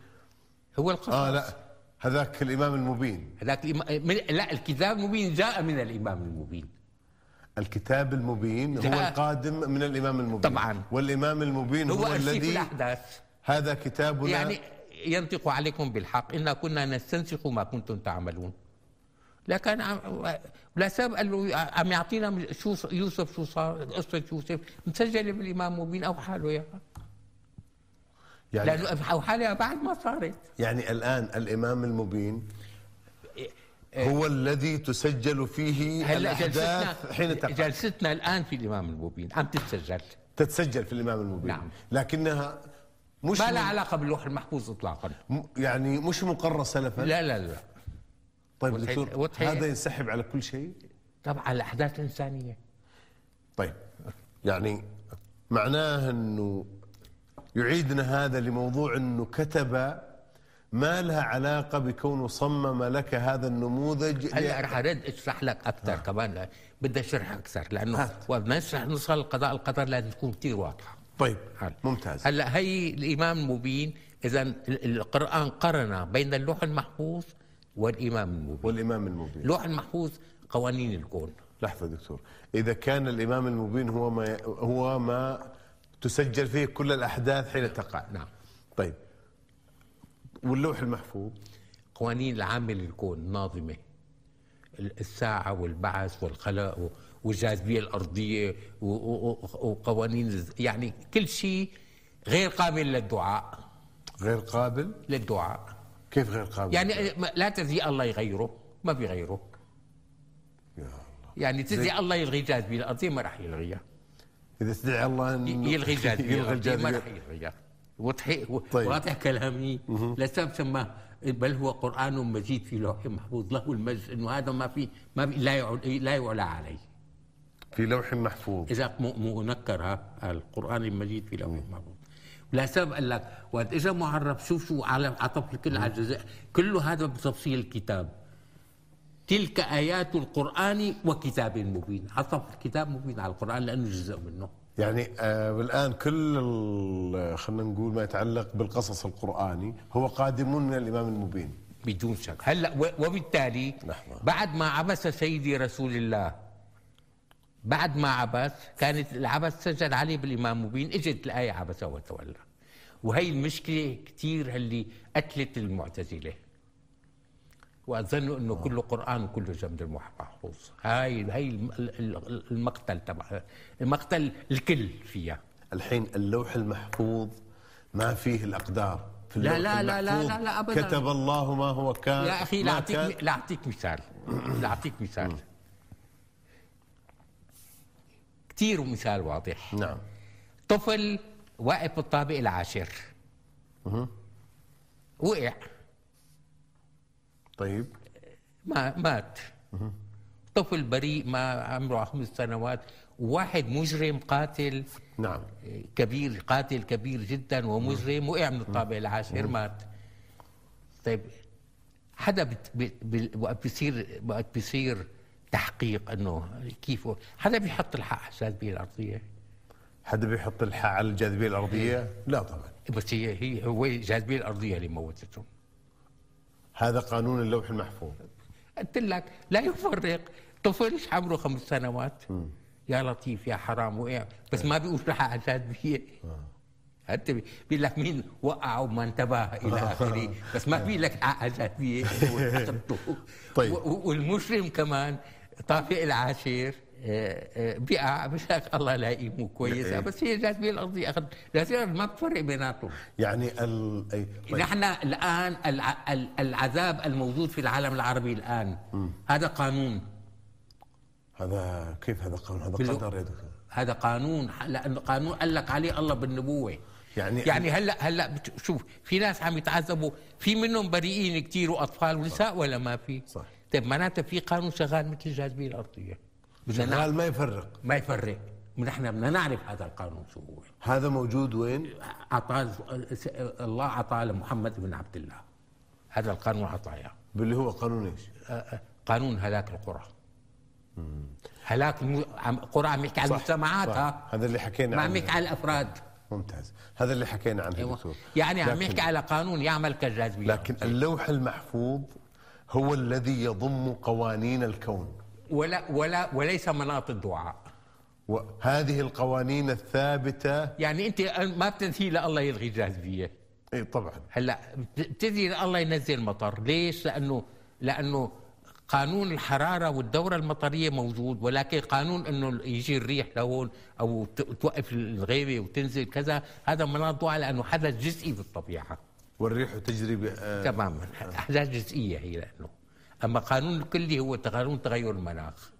S2: هو القصص
S1: اه لا هذاك الامام المبين
S2: هذاك الإما- من- لا الكتاب المبين جاء من الامام المبين
S1: الكتاب المبين هو
S2: لا.
S1: القادم من الامام المبين
S2: طبعاً.
S1: والامام المبين
S2: هو,
S1: هو,
S2: أرشيف
S1: الذي
S2: الاحداث
S1: هذا كتابنا
S2: يعني ينطق عليكم بالحق انا كنا نستنسخ ما كنتم تعملون لكن عم- لا سبب قال له عم يعطينا شو يوسف شو صار قصه يوسف مسجله بالامام المبين او حاله اياها
S1: يعني
S2: لانه او حالها بعد ما صارت
S1: يعني الان الامام المبين
S2: إيه.
S1: هو الذي تسجل فيه الاحداث حين تقع
S2: جلستنا الان في الامام المبين عم تتسجل
S1: تتسجل في الامام المبين
S2: نعم.
S1: لكنها مش
S2: ما لها
S1: من
S2: علاقه باللوح المحفوظ اطلاقا
S1: م- يعني مش مقرره سلفا
S2: لا لا لا
S1: طيب
S2: وتحي-
S1: دكتور
S2: وتحي-
S1: هذا ينسحب على كل شيء
S2: طبعا الاحداث الانسانيه
S1: طيب يعني معناه انه يعيدنا هذا لموضوع انه كتب ما لها علاقه بكونه صمم لك هذا النموذج
S2: هلا رح ارد اشرح لك اكثر كمان لا- بدي شرح اكثر لانه
S1: هات.
S2: وبدنا نشرح نوصل لقضاء القدر لازم تكون كثير واضحه
S1: طيب
S2: حال.
S1: ممتاز
S2: هلا هي الامام المبين اذا القران قرن بين اللوح المحفوظ والامام المبين
S1: والامام المبين
S2: اللوح المحفوظ قوانين الكون
S1: لحظة دكتور إذا كان الإمام المبين هو ما هو ما تسجل فيه كل الأحداث حين تقع
S2: نعم
S1: طيب واللوح المحفوظ
S2: قوانين العامة للكون ناظمة الساعة والبعث والخلاء و- والجاذبية الأرضية و- و- و- وقوانين الز- يعني كل شيء غير قابل للدعاء
S1: غير قابل
S2: للدعاء
S1: كيف غير قابل
S2: يعني ما- لا تزي الله يغيره ما بيغيره
S1: يا الله.
S2: يعني تزي الله يلغي الجاذبية الأرضية ما راح يلغيها
S1: إذا استدعى الله أن [LAUGHS]
S2: ي- يلغي الجاذبية
S1: يلغي
S2: الأرضية ما
S1: الجاذبية
S2: راح يلغيها وضحي
S1: طيب.
S2: واضح كلامي لسبب سماه بل هو قرآن مجيد في لوح محفوظ له المجد انه هذا ما في ما في لا يعلى, لا يعلى عليه
S1: في لوح محفوظ
S2: اذا م- منكرها القران المجيد في لوح محفوظ ولا سبب قال لك وقت اجى معرف شوف شو على عطف الكل على الجزء كله هذا بتفصيل الكتاب تلك ايات القران وكتاب مبين عطف الكتاب مبين على القران لانه جزء منه
S1: يعني آه الآن كل ال- خلينا نقول ما يتعلق بالقصص القرآني هو قادم من الإمام المبين
S2: بدون شك هلا و- وبالتالي
S1: لحظة.
S2: بعد ما عبس سيدي رسول الله بعد ما عبس كانت العبس سجل عليه بالامام مبين اجت الايه عبس وتولى وهي المشكله كثير اللي قتلت المعتزله واظن انه كله قران وكله جنب المحفوظ هاي هاي الم- ال- ال- المقتل تبع المقتل الكل فيها
S1: الحين اللوح المحفوظ ما فيه الأقدار في اللوح
S2: لا- لا- لا-
S1: المحفوظ
S2: لا- لا أبداً.
S1: كتب الله ما هو كان
S2: يا اخي
S1: ما
S2: لا اعطيك
S1: كان.
S2: لا اعطيك مثال لا اعطيك مثال كثير مثال واضح
S1: نعم
S2: طفل واقف بالطابق العاشر وقع
S1: طيب
S2: ما مات طفل بريء ما عمره خمس سنوات وواحد مجرم قاتل
S1: نعم
S2: كبير قاتل كبير جدا ومجرم وقع من الطابق العاشر مات طيب حدا بت- بت- بال- وقت بيصير وقت بيصير تحقيق انه كيف هو- حدا بيحط الحق على الجاذبيه الارضيه
S1: حد بيحط الحق على الجاذبية الأرضية
S2: إيه.
S1: لا طبعا
S2: بس هي هي هو الجاذبيه الارضيه اللي موتته
S1: هذا قانون اللوح المحفوظ
S2: قلت لك لا يفرق طفل عمره خمس سنوات يا لطيف يا حرام وقع بس ما بيقول لها على الجاذبيه حتى بي- بيقول لك مين وقع وما انتبه الى اخره بس ما بيقول لك على الجاذبيه
S1: طيب.
S2: طيب والمجرم كمان طابق العاشر آه، آه، بيقع مش هيك الله لا يقيمه كويس
S1: إيه.
S2: بس هي الجاذبيه الارضيه اخذ الجاذبيه الأرضية ما بتفرق بيناتهم
S1: يعني ال... أي... طيب.
S2: نحن الان الع- ال- العذاب الموجود في العالم العربي الان هذا قانون
S1: هذا كيف هذا قانون هذا
S2: باللو-
S1: قدر يا دكتور
S2: هذا قانون ح- لانه قانون قال لك عليه الله بالنبوه
S1: يعني
S2: يعني هلا هلا بت- شوف في ناس عم يتعذبوا في منهم بريئين كثير واطفال ونساء ولا ما في؟
S1: صح.
S2: طيب معناتها في قانون شغال مثل الجاذبيه الارضيه بدنا نعرف-
S1: شغال ما يفرق
S2: ما يفرق نحن بدنا نعرف هذا القانون شو هو
S1: هذا موجود وين؟
S2: اعطاه الله اعطاه لمحمد بن عبد الله هذا القانون اعطاه إياه.
S1: باللي هو قانون ايش؟
S2: أه، قانون هلاك القرى هلاك المو... عم... قرى عم يحكي على المجتمعات ها
S1: هذا اللي حكينا
S2: ما عم
S1: عنه
S2: يحكي على الافراد
S1: ممتاز هذا اللي حكينا عنه
S2: أيوة.
S1: دكتور
S2: يعني عم
S1: لكن-
S2: يحكي على قانون يعمل كالجاذبيه
S1: لكن اللوح المحفوظ هو الذي يضم قوانين الكون
S2: ولا ولا وليس مناط الدعاء
S1: وهذه القوانين الثابتة
S2: يعني انت ما بتنتهي لله يلغي الجاذبيه
S1: اي طبعا
S2: هلا بت- بتدري الله ينزل مطر ليش لانه لانه قانون الحراره والدوره المطريه موجود ولكن قانون انه يجي الريح لهون او ت- توقف الغيبه وتنزل كذا هذا مناط ضعف لانه حدث جزئي بالطبيعه
S1: والريح تجري ب... آه،
S2: تماما احداث جزئيه هي لانه اما قانون الكلي هو قانون تغير المناخ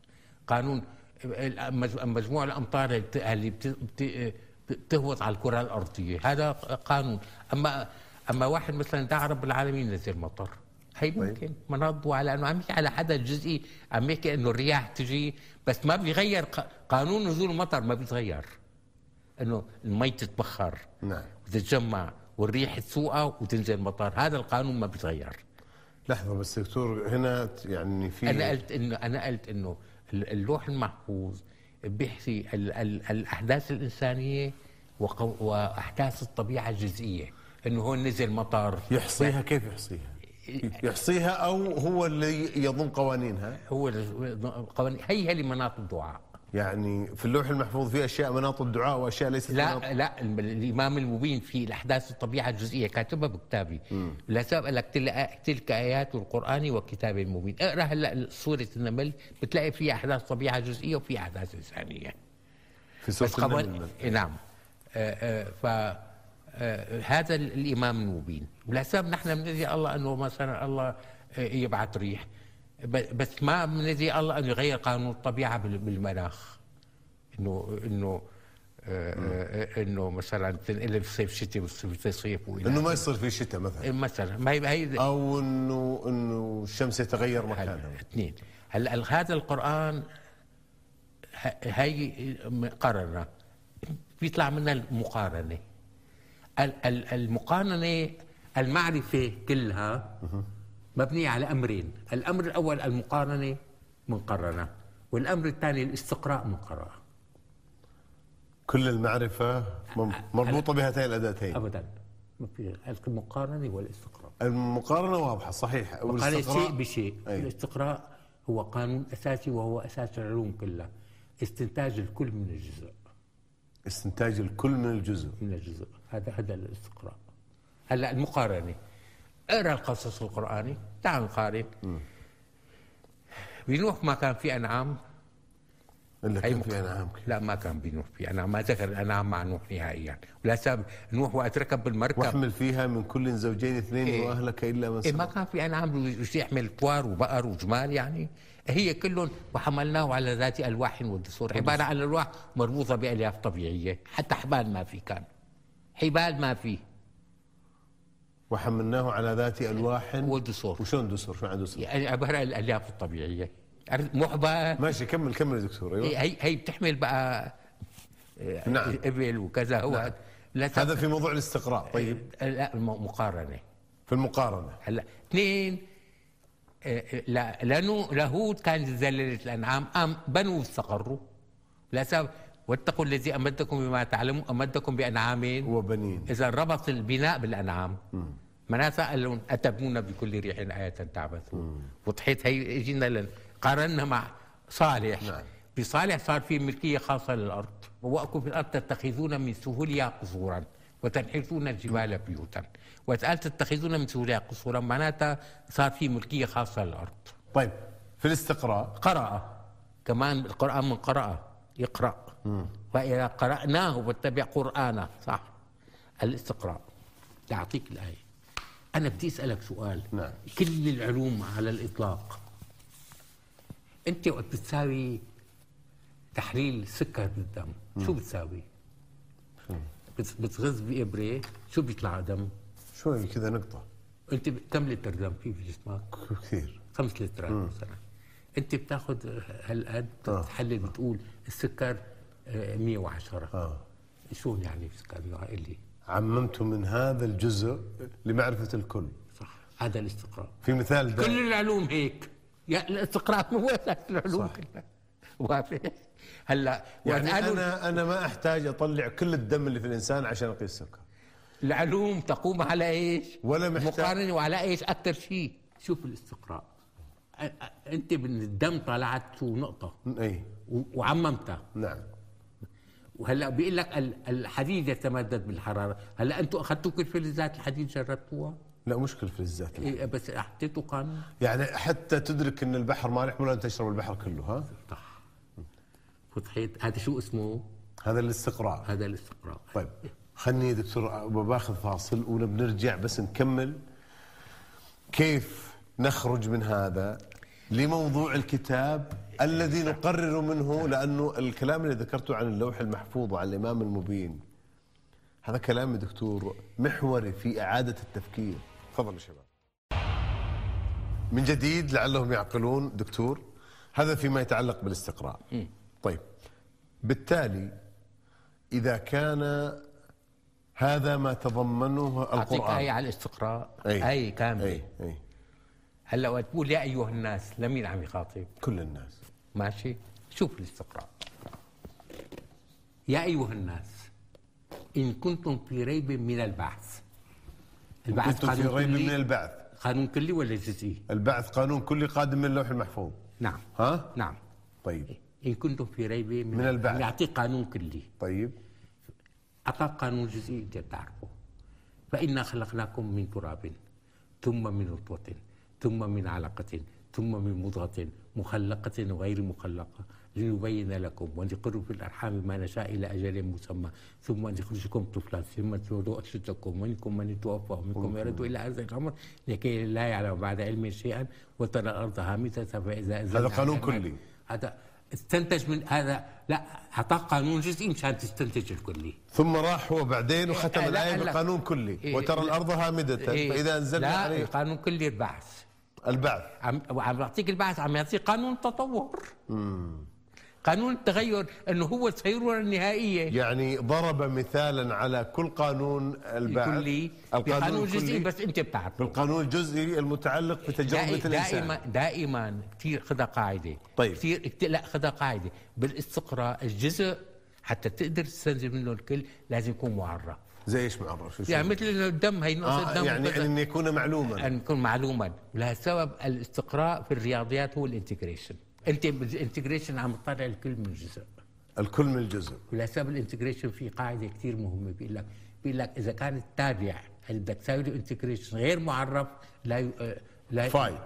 S2: قانون الأ- مج- مجموع الامطار اللي بت- اللي بت- بت- بتهبط على الكره الارضيه هذا قانون اما اما واحد مثلا دعا رب العالمين نزل مطر هي ممكن مناض على انه عم يحكي على حدث جزئي عم يحكي انه الرياح تجي بس ما بيغير ق- قانون نزول المطر ما بيتغير انه المي تتبخر
S1: نعم
S2: وتتجمع والريح تسوقها وتنزل مطر هذا القانون ما بيتغير
S1: لحظة بس دكتور هنا ت- يعني في
S2: انا قلت انه انا قلت انه ال- اللوح المحفوظ بيحكي ال- ال- الاحداث الانسانيه وقو- واحداث الطبيعه الجزئيه انه هون نزل مطر
S1: يحصيها كيف يحصيها؟ يحصيها او هو اللي يضم قوانينها
S2: هو ال- قوانين- هي هي مناط الدعاء
S1: يعني في اللوح المحفوظ في اشياء مناط الدعاء واشياء ليست مناط
S2: لا لا ال- الامام المبين في الاحداث الطبيعه الجزئيه كاتبها بكتابي لسبب قال لك تلك- تلك ايات القران وكتاب المبين اقرا هلا سوره النمل بتلاقي فيها احداث طبيعه جزئيه وفي احداث انسانيه
S1: في سورة
S2: بس قبل-
S1: النمل.
S2: نعم آه، آه، ف آه، هذا ال- الامام المبين ولسبب نحن بندعي الله انه مثلا الله آه، يبعث ريح ب- بس ما بندعي الله انه يغير قانون الطبيعه بال- بالمناخ انه انه آه، آه، انه مثلا تنقلب الصيف شتي والصيف صيف
S1: انه
S2: والى
S1: ما يصير في شتاء
S2: إيه.
S1: مثلا
S2: مثلا ما هي هي
S1: او انه انه الشمس يتغير مكانها
S2: اثنين هلا ال- هذا القران ه- هي مقارنه بيطلع منها المقارنه ال- ال- المقارنه المعرفه كلها مبنيه على امرين الامر الاول المقارنه منقرنه والامر الثاني الاستقراء من قراءه
S1: كل المعرفة مم-
S2: أه،
S1: مربوطة بهاتين الأداتين
S2: ابدا ما في المقارنه والاستقراء
S1: المقارنة واضحة صحيح
S2: قال
S1: والاستقراء-
S2: شيء بشيء
S1: أي.
S2: الاستقراء هو قانون اساسي وهو اساس العلوم كلها استنتاج الكل من الجزء
S1: استنتاج الكل من الجزء
S2: من الجزء هذا هذا الاستقراء هلا المقارنه اقرا القصص القراني تعال نقارن بنوح ما كان في انعام
S1: الا
S2: هي
S1: كان في
S2: مقارنة.
S1: انعام
S2: لا ما كان بنوح في انعام ما ذكر الانعام مع نوح نهائيا ولا سبب نوح وقت ركب بالمركب
S1: واحمل فيها من كل زوجين اثنين
S2: إيه.
S1: واهلك الا من
S2: إيه ما
S1: سبق
S2: كان في انعام وش يحمل فوار وبقر وجمال يعني هي كلهم وحملناه على ذات الواح ودسور عباره عن الواح مربوطه بالياف طبيعيه حتى حبال ما في كان حبال ما في
S1: وحملناه على ذات
S2: إيه،
S1: الواح
S2: ودسور
S1: وشلون دسر شو عن دسر؟
S2: يعني عباره عن الالياف الطبيعيه أر- محبال
S1: ماشي كمل كمل يا دكتور ايوه
S2: هي هي- هي بتحمل بقى آه،
S1: نعم.
S2: ابل وكذا هو لا تف-
S1: هذا في موضوع
S2: إيه.
S1: الاستقراء طيب
S2: لا الم- مقارنه
S1: في المقارنه
S2: هلا اثنين آه، آه، لا لانه لاهوت كانت زللت الانعام ام بنوا استقروا لا سبب واتقوا الذي امدكم بما تعلمون امدكم بانعام
S1: وبنين
S2: اذا ربط البناء بالانعام معناتها قال لهم اتبنون بكل ريح آية تعبثون وضحت هي اجينا لن قارنا مع صالح
S1: نعم.
S2: بصالح صار في ملكيه خاصه للارض وواكم في الارض تتخذون من سهولها قصورا وتنحتون الجبال بيوتا وتقال تتخذون من سهولها قصورا معناتها صار في ملكيه خاصه للارض
S1: طيب في الاستقراء
S2: قرأ كمان القرآن من قرأ يقرأ وإذا قرأناه واتبع قرآنه صح الاستقراء تعطيك الآية أنا بدي أسألك سؤال
S1: نعم.
S2: كل العلوم على الإطلاق أنت وقت بتساوي تحليل سكر بالدم شو بتساوي؟ بت- بتغز بإبرة شو بيطلع دم؟
S1: شوي كذا نقطه
S2: أنت ب- كم لتر دم في بجسمك؟
S1: كثير
S2: خمس لترات مثلا انت بتاخذ هالقد
S1: آه.
S2: بتحلل بتقول السكر آه، 110
S1: آه.
S2: شو يعني السكر قال لي
S1: عممت من هذا الجزء لمعرفه الكل
S2: صح هذا الاستقراء
S1: في مثال ده
S2: كل العلوم هيك يا الاستقراء هو أساس العلوم
S1: صح.
S2: كلها [LAUGHS] وافق هلا
S1: يعني
S2: وقالوا
S1: انا انا ما احتاج اطلع كل الدم اللي في الانسان عشان اقيس السكر
S2: العلوم تقوم على ايش؟
S1: ولا محتاج-
S2: مقارنه وعلى ايش اكثر شيء شوف الاستقراء أ- أ- انت من الدم طلعت شو نقطه
S1: اي
S2: و- وعممتها
S1: نعم
S2: وهلا بيقول لك ال- الحديد يتمدد بالحراره، هلا انتم اخذتوا كل فلزات الحديد جربتوها؟
S1: لا مشكل في الزيت
S2: إيه بس حطيتوا قانون؟
S1: يعني حتى تدرك ان البحر مالح ولا أن تشرب البحر كله ها
S2: صح وضحيت هذا شو اسمه؟
S1: هذا الاستقراء
S2: هذا الاستقراء
S1: طيب خلني يا دكتور باخذ فاصل ونرجع بس نكمل كيف نخرج من هذا لموضوع الكتاب الذي نقرر منه لانه الكلام اللي ذكرته عن اللوح المحفوظ وعن الامام المبين هذا كلام يا دكتور محوري في اعاده التفكير تفضل يا شباب من جديد لعلهم يعقلون دكتور هذا فيما يتعلق بالاستقراء طيب بالتالي اذا كان هذا ما تضمنه
S2: اعطيك
S1: القران
S2: ايه على الاستقراء
S1: أي.
S2: ايه كامله
S1: اي اي
S2: هلا وقت تقول يا ايها الناس لمين عم يخاطب؟
S1: كل الناس
S2: ماشي؟ شوف الاستقراء يا ايها الناس ان كنتم في ريب من البعث البعث
S1: كنتم في
S2: قانون
S1: ريب من
S2: كلي
S1: البعث
S2: قانون كلي ولا جزئي؟
S1: البعث قانون كلي قادم من اللوح المحفوظ
S2: نعم
S1: ها
S2: نعم
S1: طيب
S2: إن كنتم في ريب من,
S1: من البعث.
S2: يعطيك قانون كلي
S1: طيب
S2: أعطاك قانون جزئي أنت بتعرفه فإنا خلقناكم من تراب ثم من نطفة ثم من علقة ثم من مضغة مخلقة وغير مخلقة لنبين لكم ونقر في الأرحام ما نشاء إلى أجل مسمى ثم نخرجكم طفلا ثم تولوا أشدكم ومنكم من يتوفى ومنكم يرد إلى أرض الأمر لكي لا يعلم بعد علم شيئا وترى الأرض هامدة فإذا
S1: هذا قانون كلي.
S2: هذا استنتج من هذا لا اعطاك قانون جزئي مشان تستنتج الكلي
S1: ثم راح هو بعدين وختم
S2: إيه، لا،
S1: الايه
S2: لا.
S1: بقانون كلي
S2: إيه،
S1: وترى
S2: لا.
S1: الارض هامده فاذا انزلنا
S2: إيه. لا
S1: عليه
S2: القانون كلي البعث
S1: البعث
S2: عم وعم يعطيك البعث عم يعطيك قانون التطور قانون التغير انه هو السيروره النهائيه
S1: يعني ضرب مثالا على كل قانون البعث
S2: الكلي
S1: القانون
S2: بقانون جزئي
S1: الكلي
S2: بس انت بتعرفه
S1: بالقانون الجزئي المتعلق بتجربه
S2: دائما دائما
S1: الانسان
S2: دائما كثير خذها قاعده
S1: طيب.
S2: كثير كت- لا خذها قاعده بالاستقراء الجزء حتى تقدر تستنتج منه الكل لازم يكون معرف
S1: زي ايش معرف شو شو-
S2: يعني مثل إنه الدم هي نقطه
S1: آه
S2: دم
S1: يعني
S2: وكذا.
S1: ان يكون معلوما
S2: ان يكون معلوما ولهالسبب الاستقراء في الرياضيات هو الانتجريشن انت بالانتجريشن عم تطلع الكل من جزء
S1: الكل من الجزء
S2: ولهالسبب الانتجريشن في قاعده كثير مهمه بيقول لك بيقول لك اذا كان التابع البكتيريال انتجريشن غير معرف لا ي... آه، لا
S1: فاي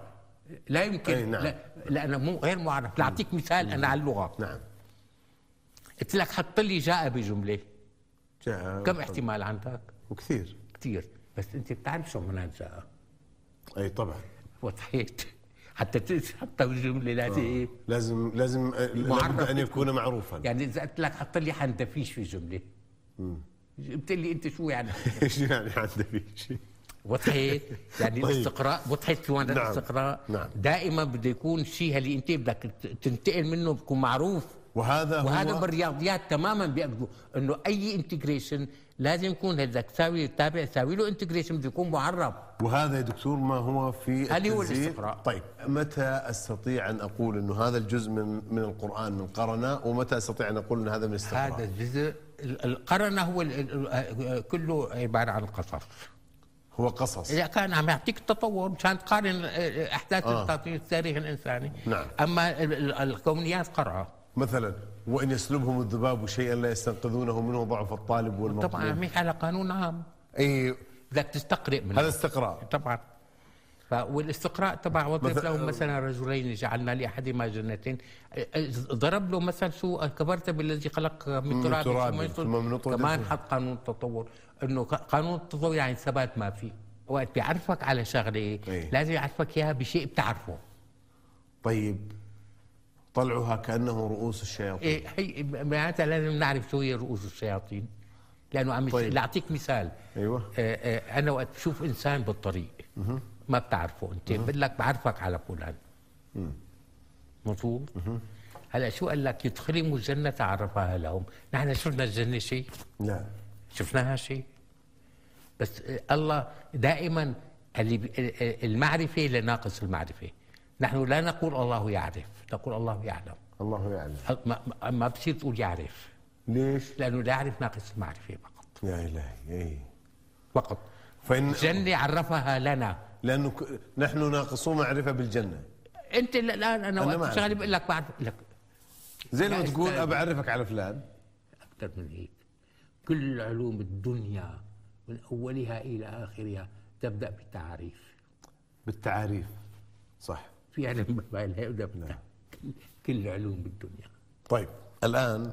S2: لا يمكن
S1: أي نعم.
S2: لا لانه مو غير معرف لا اعطيك مثال انا على اللغه
S1: نعم
S2: قلت لك حط لي جاء بجمله
S1: جاء
S2: كم احتمال عندك؟
S1: وكثير
S2: كثير بس انت بتعرف شو معنات جاء
S1: اي طبعا
S2: وضحيت حتى تقدر تحطها بجمله
S1: آه.
S2: لازم
S1: لازم لازم آه، لابد ان يكون معروفا [LAUGHS]
S2: يعني اذا قلت لك حط لي حنتفيش في جمله بتقول لي انت شو يعني
S1: ايش يعني عنده في شيء
S2: وضحت يعني
S1: طيب.
S2: الاستقراء وضحت في معنى
S1: نعم.
S2: الاستقراء
S1: نعم.
S2: دائما بده يكون الشيء اللي انت بدك ت- تنتقل منه بيكون معروف
S1: وهذا هو
S2: وهذا بالرياضيات تماما بيأخذوا انه اي انتجريشن لازم يكون هذا تساوي تابع تساوي له انتجريشن بده يكون معرب
S1: وهذا يا دكتور ما هو في
S2: هل هو
S1: التنزيل؟
S2: الاستقراء؟
S1: طيب متى استطيع ان اقول انه هذا الجزء من من القران من قرنه ومتى استطيع ان اقول ان هذا من الاستقراء؟
S2: هذا الجزء ال- القرنه هو ال- ال- كله عباره عن قصص
S1: هو قصص
S2: اذا كان عم يعطيك التطور مشان تقارن آه، احداث
S1: آه.
S2: آه. التاريخ الانساني
S1: نعم.
S2: اما ال- ال- الكونيات قرأه
S1: مثلا وان يسلبهم الذباب شيئا لا يستنقذونه منه ضعف الطالب والمطلوب
S2: طبعا عم يحكي على قانون عام
S1: اي
S2: بدك تستقرئ منه
S1: هذا استقراء
S2: طبعا ف- والاستقراء تبع واضرب
S1: مثل- آه.
S2: لهم مثلا رجلين جعلنا لاحدهما جنتين أ- أ- ضرب له مثل شو كبرت بالذي خلق من
S1: من
S2: تراب
S1: تراب
S2: ثم ينطل.
S1: ثم من نطفة
S2: كمان
S1: ثم-
S2: حط قانون التطور انه ق- قانون التطور يعني ثبات ما فيه وقت بيعرفك على شغله
S1: إيه.
S2: لازم يعرفك اياها بشيء بتعرفه
S1: طيب طلعها كانه رؤوس الشياطين
S2: إيه هي معناتها لازم نعرف شو هي رؤوس الشياطين لانه عم
S1: طيب.
S2: طيب. لاعطيك مثال
S1: ايوه
S2: آه، آه، انا وقت بشوف انسان بالطريق ما بتعرفه انت بقول لك بعرفك على فلان مظبوط هلا شو قال لك يدخلهم الجنه عرفها لهم نحن شفنا الجنه شيء
S1: لا
S2: شفناها شيء بس آه، الله دائما اللي بي- آه، آه، المعرفه لناقص المعرفه نحن لا نقول الله يعرف نقول الله يعلم
S1: الله يعلم
S2: ما- ما- ما بصير تقول يعرف
S1: ليش؟
S2: لانه لا يعرف ناقص المعرفه فقط
S1: يا الهي اي
S2: فقط
S1: فان
S2: الجنه عرفها لنا
S1: لانه ك- نحن ناقصو معرفه بالجنه
S2: انت ال- الان انا
S1: ما
S2: وقت
S1: أعرف.
S2: شغالي بقول لك بعرف بقول لك
S1: زي لما
S2: لا
S1: تقول
S2: استاذ.
S1: أبعرفك على فلان
S2: اكثر من هيك كل علوم الدنيا من اولها الى اخرها تبدا بالتعاريف
S1: بالتعاريف صح
S2: في علم ما لا يبدا
S1: نعم.
S2: بالتعاريف كل علوم الدنيا
S1: طيب الآن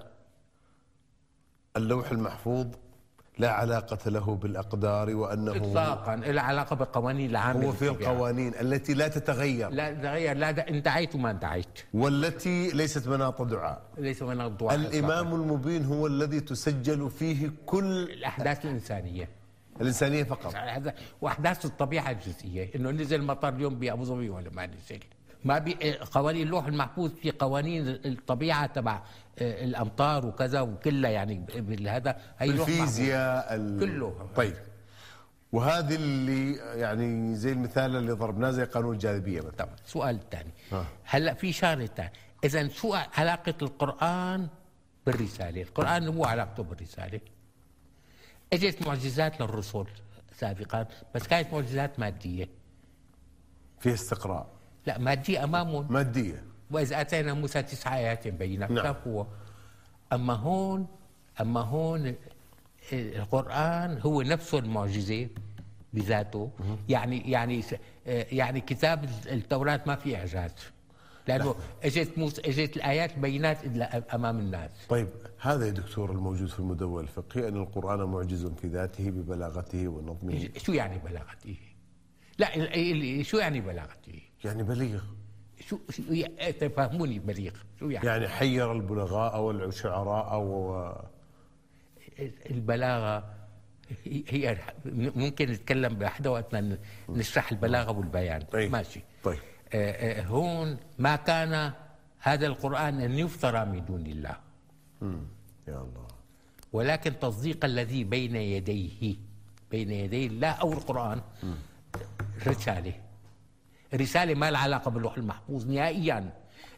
S1: اللوح المحفوظ لا علاقة له بالأقدار وأنه
S2: اطلاقا له علاقه بالقوانين العامه
S1: هو في
S2: للطبيعة.
S1: القوانين التي لا تتغير
S2: لا تغير لا دا- ان دعيت وما دعيت
S1: والتي ليست مناط دعاء
S2: ليس من الضوء
S1: الإمام المبين هو الذي تسجل فيه كل
S2: الاحداث الانسانيه
S1: الإنسانية فقط
S2: يعني هذا واحداث الطبيعه الجزئيه انه نزل مطر اليوم بابو ظبي ولا ما نزل ما بي... آه، قوانين اللوح المحفوظ في قوانين الطبيعه تبع آه، الامطار وكذا وكلها يعني ب- بالهذا هي لوح محفوظ.
S1: الفيزياء ال-
S2: كله.
S1: طيب وهذه اللي يعني زي المثال اللي ضربناه زي قانون الجاذبية مثلا
S2: طبعا السؤال الثاني
S1: آه.
S2: هلا في شغله ثانيه اذا شو علاقه القران بالرساله القران هو علاقته بالرساله اجت معجزات للرسل سابقا بس كانت معجزات ماديه
S1: في استقراء
S2: لا ماديه امامهم
S1: مادية
S2: وإذ آتينا موسى تسع آيات بينات
S1: نعم.
S2: نعم. هو أما هون أما هون إيه، القرآن هو نفسه المعجزة بذاته يعني يعني يعني كتاب التوراة ما في إعجاز لأنه اجت موسى اجت الآيات البينات إلا أمام الناس
S1: طيب هذا يا دكتور الموجود في المدونة الفقهي أن القرآن معجز في ذاته ببلاغته ونظمه
S2: شو يعني بلاغته؟ لا ال- ال- شو يعني بلاغته؟
S1: يعني بليغ
S2: شو شو يا- تفهموني بليغ شو يعني؟
S1: يعني حير البلغاء والشعراء و...
S2: البلاغه هي- هي ممكن نتكلم بحدا وقتنا ن- نشرح البلاغه والبيان
S1: أي.
S2: ماشي
S1: طيب
S2: آه، آه، هون ما كان هذا القران ان يفترى من دون الله
S1: يا الله
S2: ولكن تصديق الذي بين يديه بين يدي الله او القران رساله رساله ما لها علاقه باللوح المحفوظ نهائيا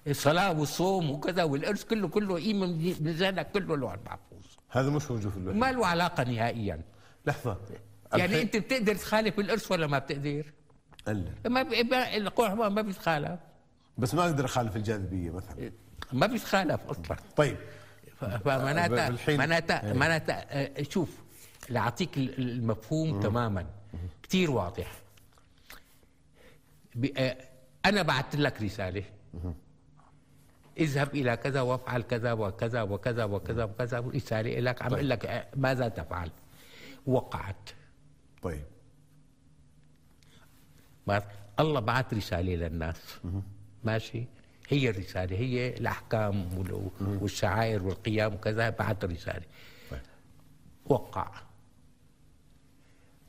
S2: الصلاه والصوم وكذا والارث كله كله قيمه من من ذهنك كله اللوح المحفوظ
S1: هذا مش موجود في اللوحة
S2: ما له علاقه نهائيا
S1: لحظة
S2: يعني
S1: الحين-
S2: انت بتقدر تخالف الارث ولا ما بتقدر؟
S1: ألا
S2: ما ب... ما- القرآن ما بيتخالف
S1: بس ما أقدر أخالف الجاذبية
S2: إيه.
S1: مثلا
S2: ما بيتخالف اصلا
S1: طيب
S2: ف- فمعناتها
S1: بالحين-
S2: معناتها
S1: إيه.
S2: معناتها آه، شوف لاعطيك ال- المفهوم تماما كتير واضح ب- آه، أنا بعثت لك رسالة اذهب إلى كذا وافعل كذا وكذا وكذا وكذا وكذا رسالة لك عم أقول لك آه، ماذا تفعل وقعت
S1: طيب
S2: ما الله بعث رسالة للناس ماشي هي الرسالة هي الأحكام وال- والشعائر والقيام وكذا بعث رسالة
S1: طيب.
S2: وقع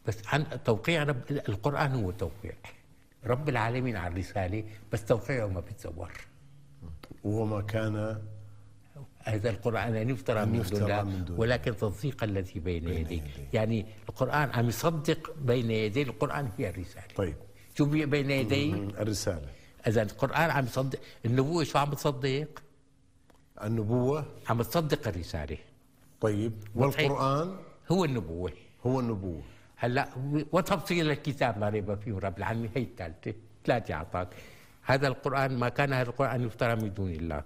S2: بس عن توقيع رب القرآن هو توقيع رب العالمين على الرسالة بس توقيعه ما بيتزور
S1: وما كان
S2: هذا القرآن لن يفترى من
S1: يفترى
S2: دون
S1: من
S2: الله
S1: دون
S2: ولكن تصديق الذي بين يديه يعني القرآن عم يصدق بين يديه القرآن هي الرسالة
S1: طيب
S2: شو بي- بين يديه
S1: مم، الرسالة
S2: اذا القران عم يصدق النبوه شو عم بتصدق؟
S1: النبوة
S2: عم تصدق الرساله
S1: طيب والقرآن
S2: هو النبوه
S1: هو النبوة
S2: هلا وتفصيل الكتاب ما ريب فيه رب العالمين هي الثالثه ثلاثه اعطاك هذا القران ما كان هذا القران يفترى من دون الله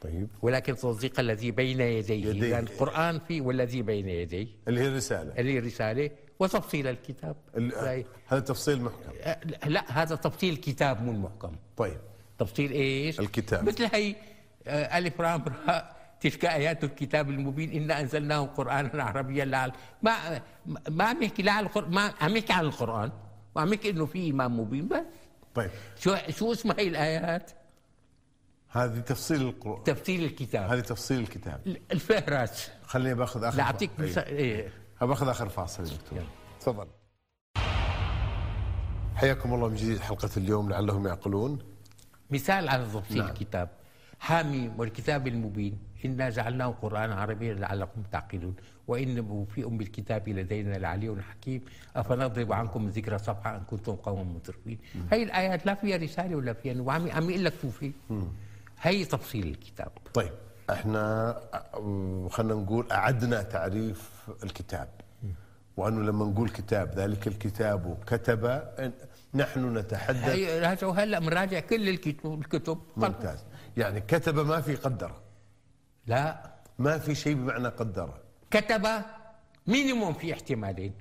S1: طيب
S2: ولكن تصديق الذي بين يديه
S1: يديه.
S2: اذا القران فيه والذي بين يديه
S1: اللي هي الرسالة
S2: اللي رساله وتفصيل الكتاب
S1: ال-
S2: زي-
S1: هذا تفصيل محكم
S2: أه، لا هذا تفصيل كتاب مو محكم
S1: طيب
S2: تفصيل ايش؟
S1: الكتاب.
S2: مثل هي آه، الف رام راء تلك ايات الكتاب المبين انا انزلناه قرانا عربيا لعل ما ما عم يحكي لا على القران ما عم يحكي عن القران وعم يحكي انه في امام مبين بس
S1: طيب
S2: شو شو اسمها هي الايات؟
S1: هذه تفصيل القرآن
S2: تفسير الكتاب
S1: هذه تفصيل الكتاب
S2: الفهرس
S1: خليني باخذ اخر
S2: لاعطيك
S1: إيه.
S2: مثال إيه.
S1: باخذ اخر فاصل يا دكتور تفضل حياكم الله من جديد حلقة اليوم لعلهم يعقلون
S2: مثال على تفصيل نعم. الكتاب حاميم والكتاب المبين إنا جعلناه قرآنا عربيا لعلكم تعقلون وإنه في أم الكتاب لدينا لعلي حكيم أفنضرب عنكم الذكرى صفحة أن كنتم قوما مترفين هي الآيات لا فيها رسالة ولا فيها وعم عم يقول لك شو في هي تفصيل الكتاب
S1: طيب احنا أم، خلينا نقول اعدنا تعريف الكتاب وانه لما نقول كتاب ذلك الكتاب كتب إن- نحن نتحدث
S2: هي راجعوا هلا بنراجع كل الكتب الكتب
S1: ممتاز يعني كتب ما في قدره
S2: لا
S1: ما في شيء بمعنى قدره
S2: كتب مينيموم في احتمالين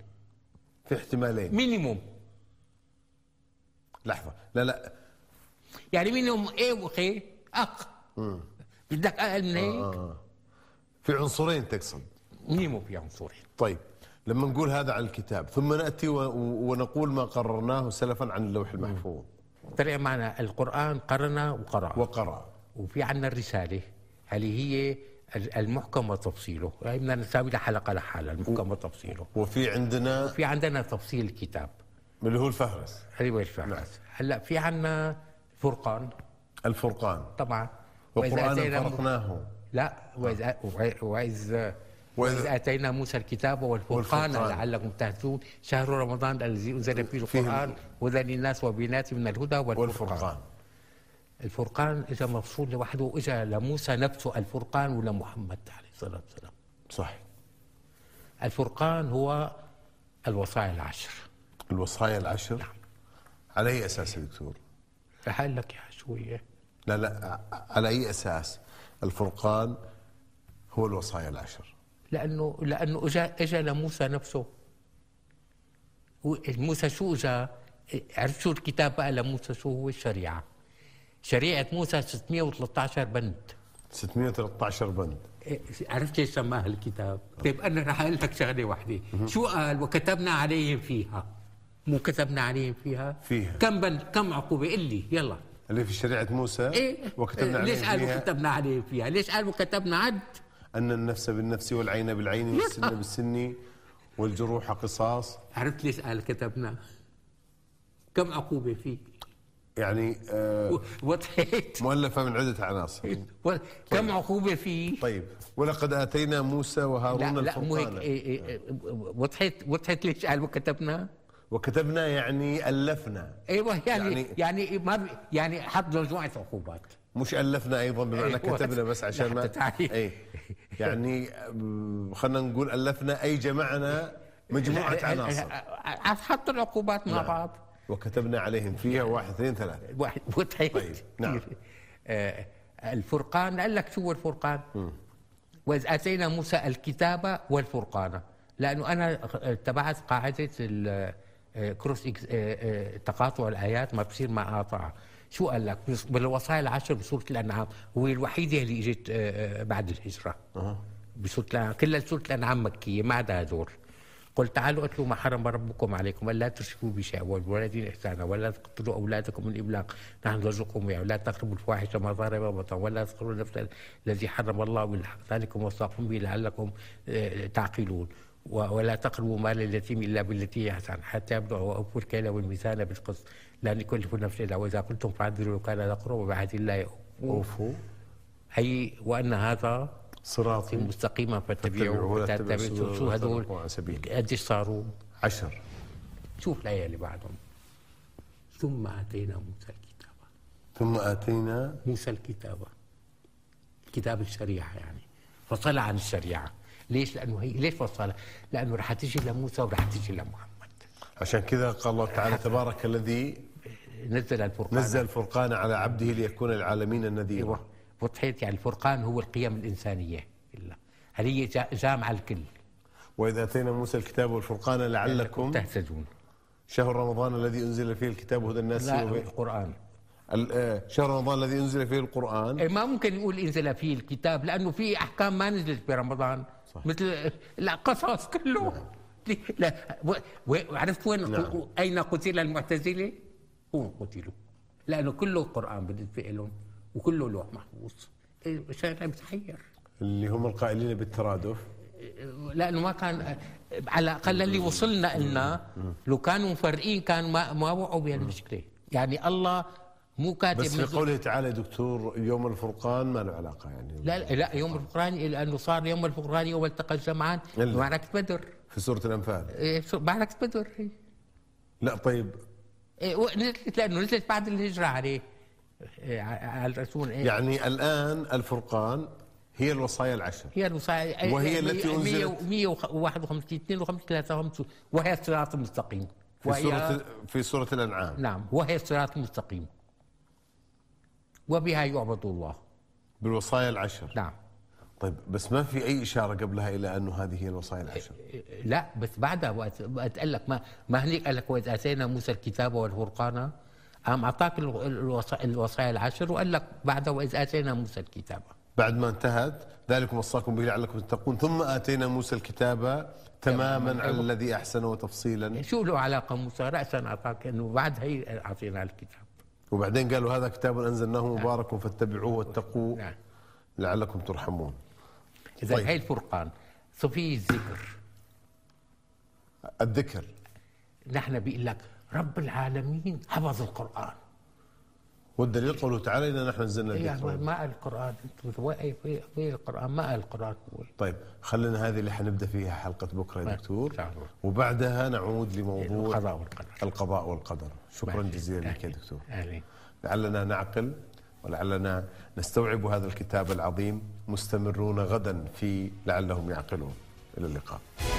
S1: في احتمالين
S2: مينيموم
S1: لحظه لا لا
S2: يعني مينيموم ايه وخي اق بدك اقل من هيك
S1: في عنصرين تقصد
S2: نيمو في عنصرين
S1: طيب لما نقول هذا عن الكتاب ثم ناتي و- و- ونقول ما قررناه سلفا عن اللوح المحفوظ
S2: طلع معنا القرآن قرنا وقرأ
S1: وقرا
S2: وفي عنا الرسالة اللي هي ال- المحكم وتفصيله هاي بدنا نساوي لها حلقة لحالها المحكم وتفصيله
S1: وفي عندنا
S2: في عندنا تفصيل الكتاب
S1: اللي هو الفهرس
S2: حلوة الفهرس هلا في عنا فرقان
S1: الفرقان
S2: طبعا وإذا
S1: وقرانا
S2: أتينا مو-
S1: فرقناه
S2: لا وإذا وإذا- وإذا
S1: وإذا-
S2: وإذ آتينا موسى الكتاب والفرقان
S1: والفرقان.
S2: لعلكم تهتدون شهر رمضان الذي أنزل فيه القرآن هدى للناس وبينات من الهدى والفرقان
S1: والفرقان
S2: الفرقان اجى مفصول لوحده واجى لموسى نفسه الفرقان ولمحمد عليه الصلاه والسلام.
S1: صح
S2: الفرقان هو الوصايا العشر.
S1: الوصايا العشر على اي اساس يا دكتور؟
S2: رح اقول لك اياها شويه.
S1: لا لا على اي اساس الفرقان هو الوصايا العشر
S2: لانه لانه اجى اجى لموسى نفسه. موسى شو اجى؟ عرفت شو الكتاب بقى لموسى شو هو الشريعه. شريعه موسى 613 بند.
S1: 613 بند
S2: إيه، عرفت ليش سماها الكتاب؟ طيب انا رح اقول لك شغله واحده، شو قال وكتبنا عليهم فيها؟ مو كتبنا عليهم فيها؟
S1: فيها.
S2: كم بن كم عقوبه؟ قل لي يلا
S1: اللي في شريعه موسى
S2: ايه
S1: وكتبنا
S2: إيه، ليش
S1: عليه
S2: قال
S1: فيها
S2: وكتبنا عليهم فيها؟ ليش قال وكتبنا عد؟
S1: ان النفس بالنفس والعين بالعين والسن بالسن والجروح قصاص
S2: عرفت ليش قال كتبنا؟ كم عقوبه فيه؟
S1: يعني آه،
S2: و-
S1: [LAUGHS]
S2: وضحت
S1: مؤلفه من عده عناصر
S2: و- كم عقوبه فيه؟
S1: طيب ولقد اتينا موسى
S2: لا
S1: وهارون
S2: لا مو هيك
S1: الفرقان
S2: إيه، إيه، إيه، وضحت وضحت ليش قال وكتبنا؟
S1: وكتبنا يعني الفنا
S2: ايوه يعني
S1: يعني-
S2: يعني ما بي- يعني حط مجموعه عقوبات
S1: مش الفنا ايضا بمعنى
S2: أيوة.
S1: كتبنا بس عشان ما
S2: لا تعريف.
S1: اي يعني خلينا نقول الفنا اي جمعنا مجموعه عناصر
S2: حط العقوبات مع بعض
S1: وكتبنا عليهم فيها واحد اثنين ثلاثة
S2: واحد وتحيد
S1: طيب، نعم.
S2: آه، الفرقان قال لك شو هو الفرقان وإذ آتينا موسى الكتاب والفرقان لأنه أنا آه، اتبعت قاعدة ال- آه، كروس إكس- آه، آه، تقاطع الايات ما بصير مع قاطعه شو قال لك بس- بالوصايا العشر بسوره الانعام هو الوحيده اللي اجت آه، آه، بعد الهجره بسوره الانعام كلها سوره الانعام مكيه ما عدا هدول قل تعالوا اتلوا ما حرم ربكم عليكم الا تشركوا بشيء والوالدين احسانا ولا تقتلوا اولادكم من ابلاغ نحن نرزقكم اياها ولا تقربوا الفاحشه ما ظهر ما بطن ولا تقتلوا النفس الذي حرم الله بالحق ذلكم وصاكم به لعلكم آه، تعقلون و- ولا تقربوا مال اليتيم الا بالتي هي احسن حتى يبلغ واوفوا الكيل والميزان بالقسط لا نكلف نفسا الا واذا قلتم فاعدلوا كان ذا قربى وبعهد الله اوفوا
S1: اوفوا
S2: هي وان هذا
S1: صراطي
S2: مستقيما
S1: فاتبعوا
S2: فاتبعوا
S1: ولا
S2: ولا
S1: تتبعوا
S2: تتبعوا
S1: سبل
S2: شو هذول
S1: وتذروا عن سبيله.
S2: قديش صاروا
S1: عشر
S2: شوف الايه اللي بعدهم ثم اتينا موسى الكتاب
S1: ثم اتينا
S2: موسى الكتابة كتاب الشريعة يعني فصل عن الشريعة ليش لأنه هي ليش فصل لأنه رح تجي لموسى ورح تجي لمحمد
S1: عشان كذا قال الله تعالى تبارك الذي
S2: نزل الفرقان
S1: نزل الفرقان على عبده ليكون العالمين نذيرا
S2: ايوه وضحيت يعني الفرقان هو القيم الانسانيه بالله هل هي جا- جامعه الكل
S1: واذا اتينا موسى الكتاب والفرقان لعلكم
S2: تهتدون
S1: شهر رمضان الذي انزل فيه الكتاب هدى الناس
S2: لا
S1: وبي-
S2: القران
S1: ال- آه، شهر رمضان الذي انزل فيه القران
S2: إيه، ما ممكن نقول انزل فيه الكتاب لانه في احكام ما نزلت برمضان صح. مثل لا قصص كله لا, لا. و... و... عرفت وين
S1: نعم.
S2: اين قتل المعتزله؟ هون قتلوا لانه كله قران بالنسبه لهم وكله لوح محفوظ إيه، شغله بتحير
S1: اللي هم القائلين بالترادف
S2: لانه ما كان على الاقل اللي وصلنا لنا لو كانوا مفرقين كان ما ما وقعوا بهالمشكله يعني الله مو كاتب
S1: بس في
S2: مثل-
S1: قوله تعالى دكتور يوم الفرقان ما له علاقه يعني
S2: لا لا لا، يوم الفرقان لانه صار يوم الفرقان يوم التقى الجمعان
S1: إلا.
S2: معركه بدر
S1: في سوره الانفال
S2: إيه، شو- معركه بدر إيه.
S1: لا طيب
S2: إيه، ونزلت لانه نزلت بعد الهجره عليه إيه، ع- على الرسول إيه.
S1: يعني الان الفرقان هي الوصايا العشر
S2: هي إيه، الوصايا
S1: وهي التي أنزلت-
S2: 151 52 53 وهي الصراط المستقيم
S1: في
S2: وهي-
S1: سوره في سوره الانعام
S2: نعم وهي الصراط المستقيم وبها يعبد الله
S1: بالوصايا العشر
S2: نعم
S1: طيب بس ما في اي اشاره قبلها الى انه هذه هي الوصايا العشر
S2: لا بس بعدها وقت وقت قال لك ما ما هنيك قال لك واذ اتينا موسى الكتاب والفرقان قام اعطاك الو- الوصا- الوصايا العشر وقال لك بعدها واذ اتينا موسى الكتاب
S1: بعد ما انتهت ذلك وصاكم به لعلكم تتقون ثم اتينا موسى الكتاب تماما على الذي احسن وتفصيلا
S2: يعني شو له علاقه موسى راسا اعطاك انه بعد هي اعطينا الكتاب
S1: وبعدين قالوا هذا كتاب انزلناه مبارك فاتبعوه واتقوا
S2: نعم.
S1: لعلكم ترحمون
S2: اذا
S1: طيب.
S2: هي الفرقان صفي الذكر
S1: الذكر
S2: نحن بيقول لك رب العالمين حفظ القران
S1: والدليل قوله تعالى انا نحن نزلنا
S2: يعني
S1: الذكر
S2: ما قال القران انت وين وين القران ما قال القران هو.
S1: طيب خلينا هذه اللي حنبدا فيها حلقه بكره يا
S2: طيب.
S1: دكتور
S2: إن شاء الله.
S1: وبعدها نعود لموضوع
S2: القضاء نعم. والقدر
S1: القضاء والقدر شكرا
S2: ماشي.
S1: جزيلا لك يا دكتور
S2: اهلين
S1: لعلنا نعقل ولعلنا نستوعب هذا الكتاب العظيم مستمرون غدا في لعلهم يعقلون الى اللقاء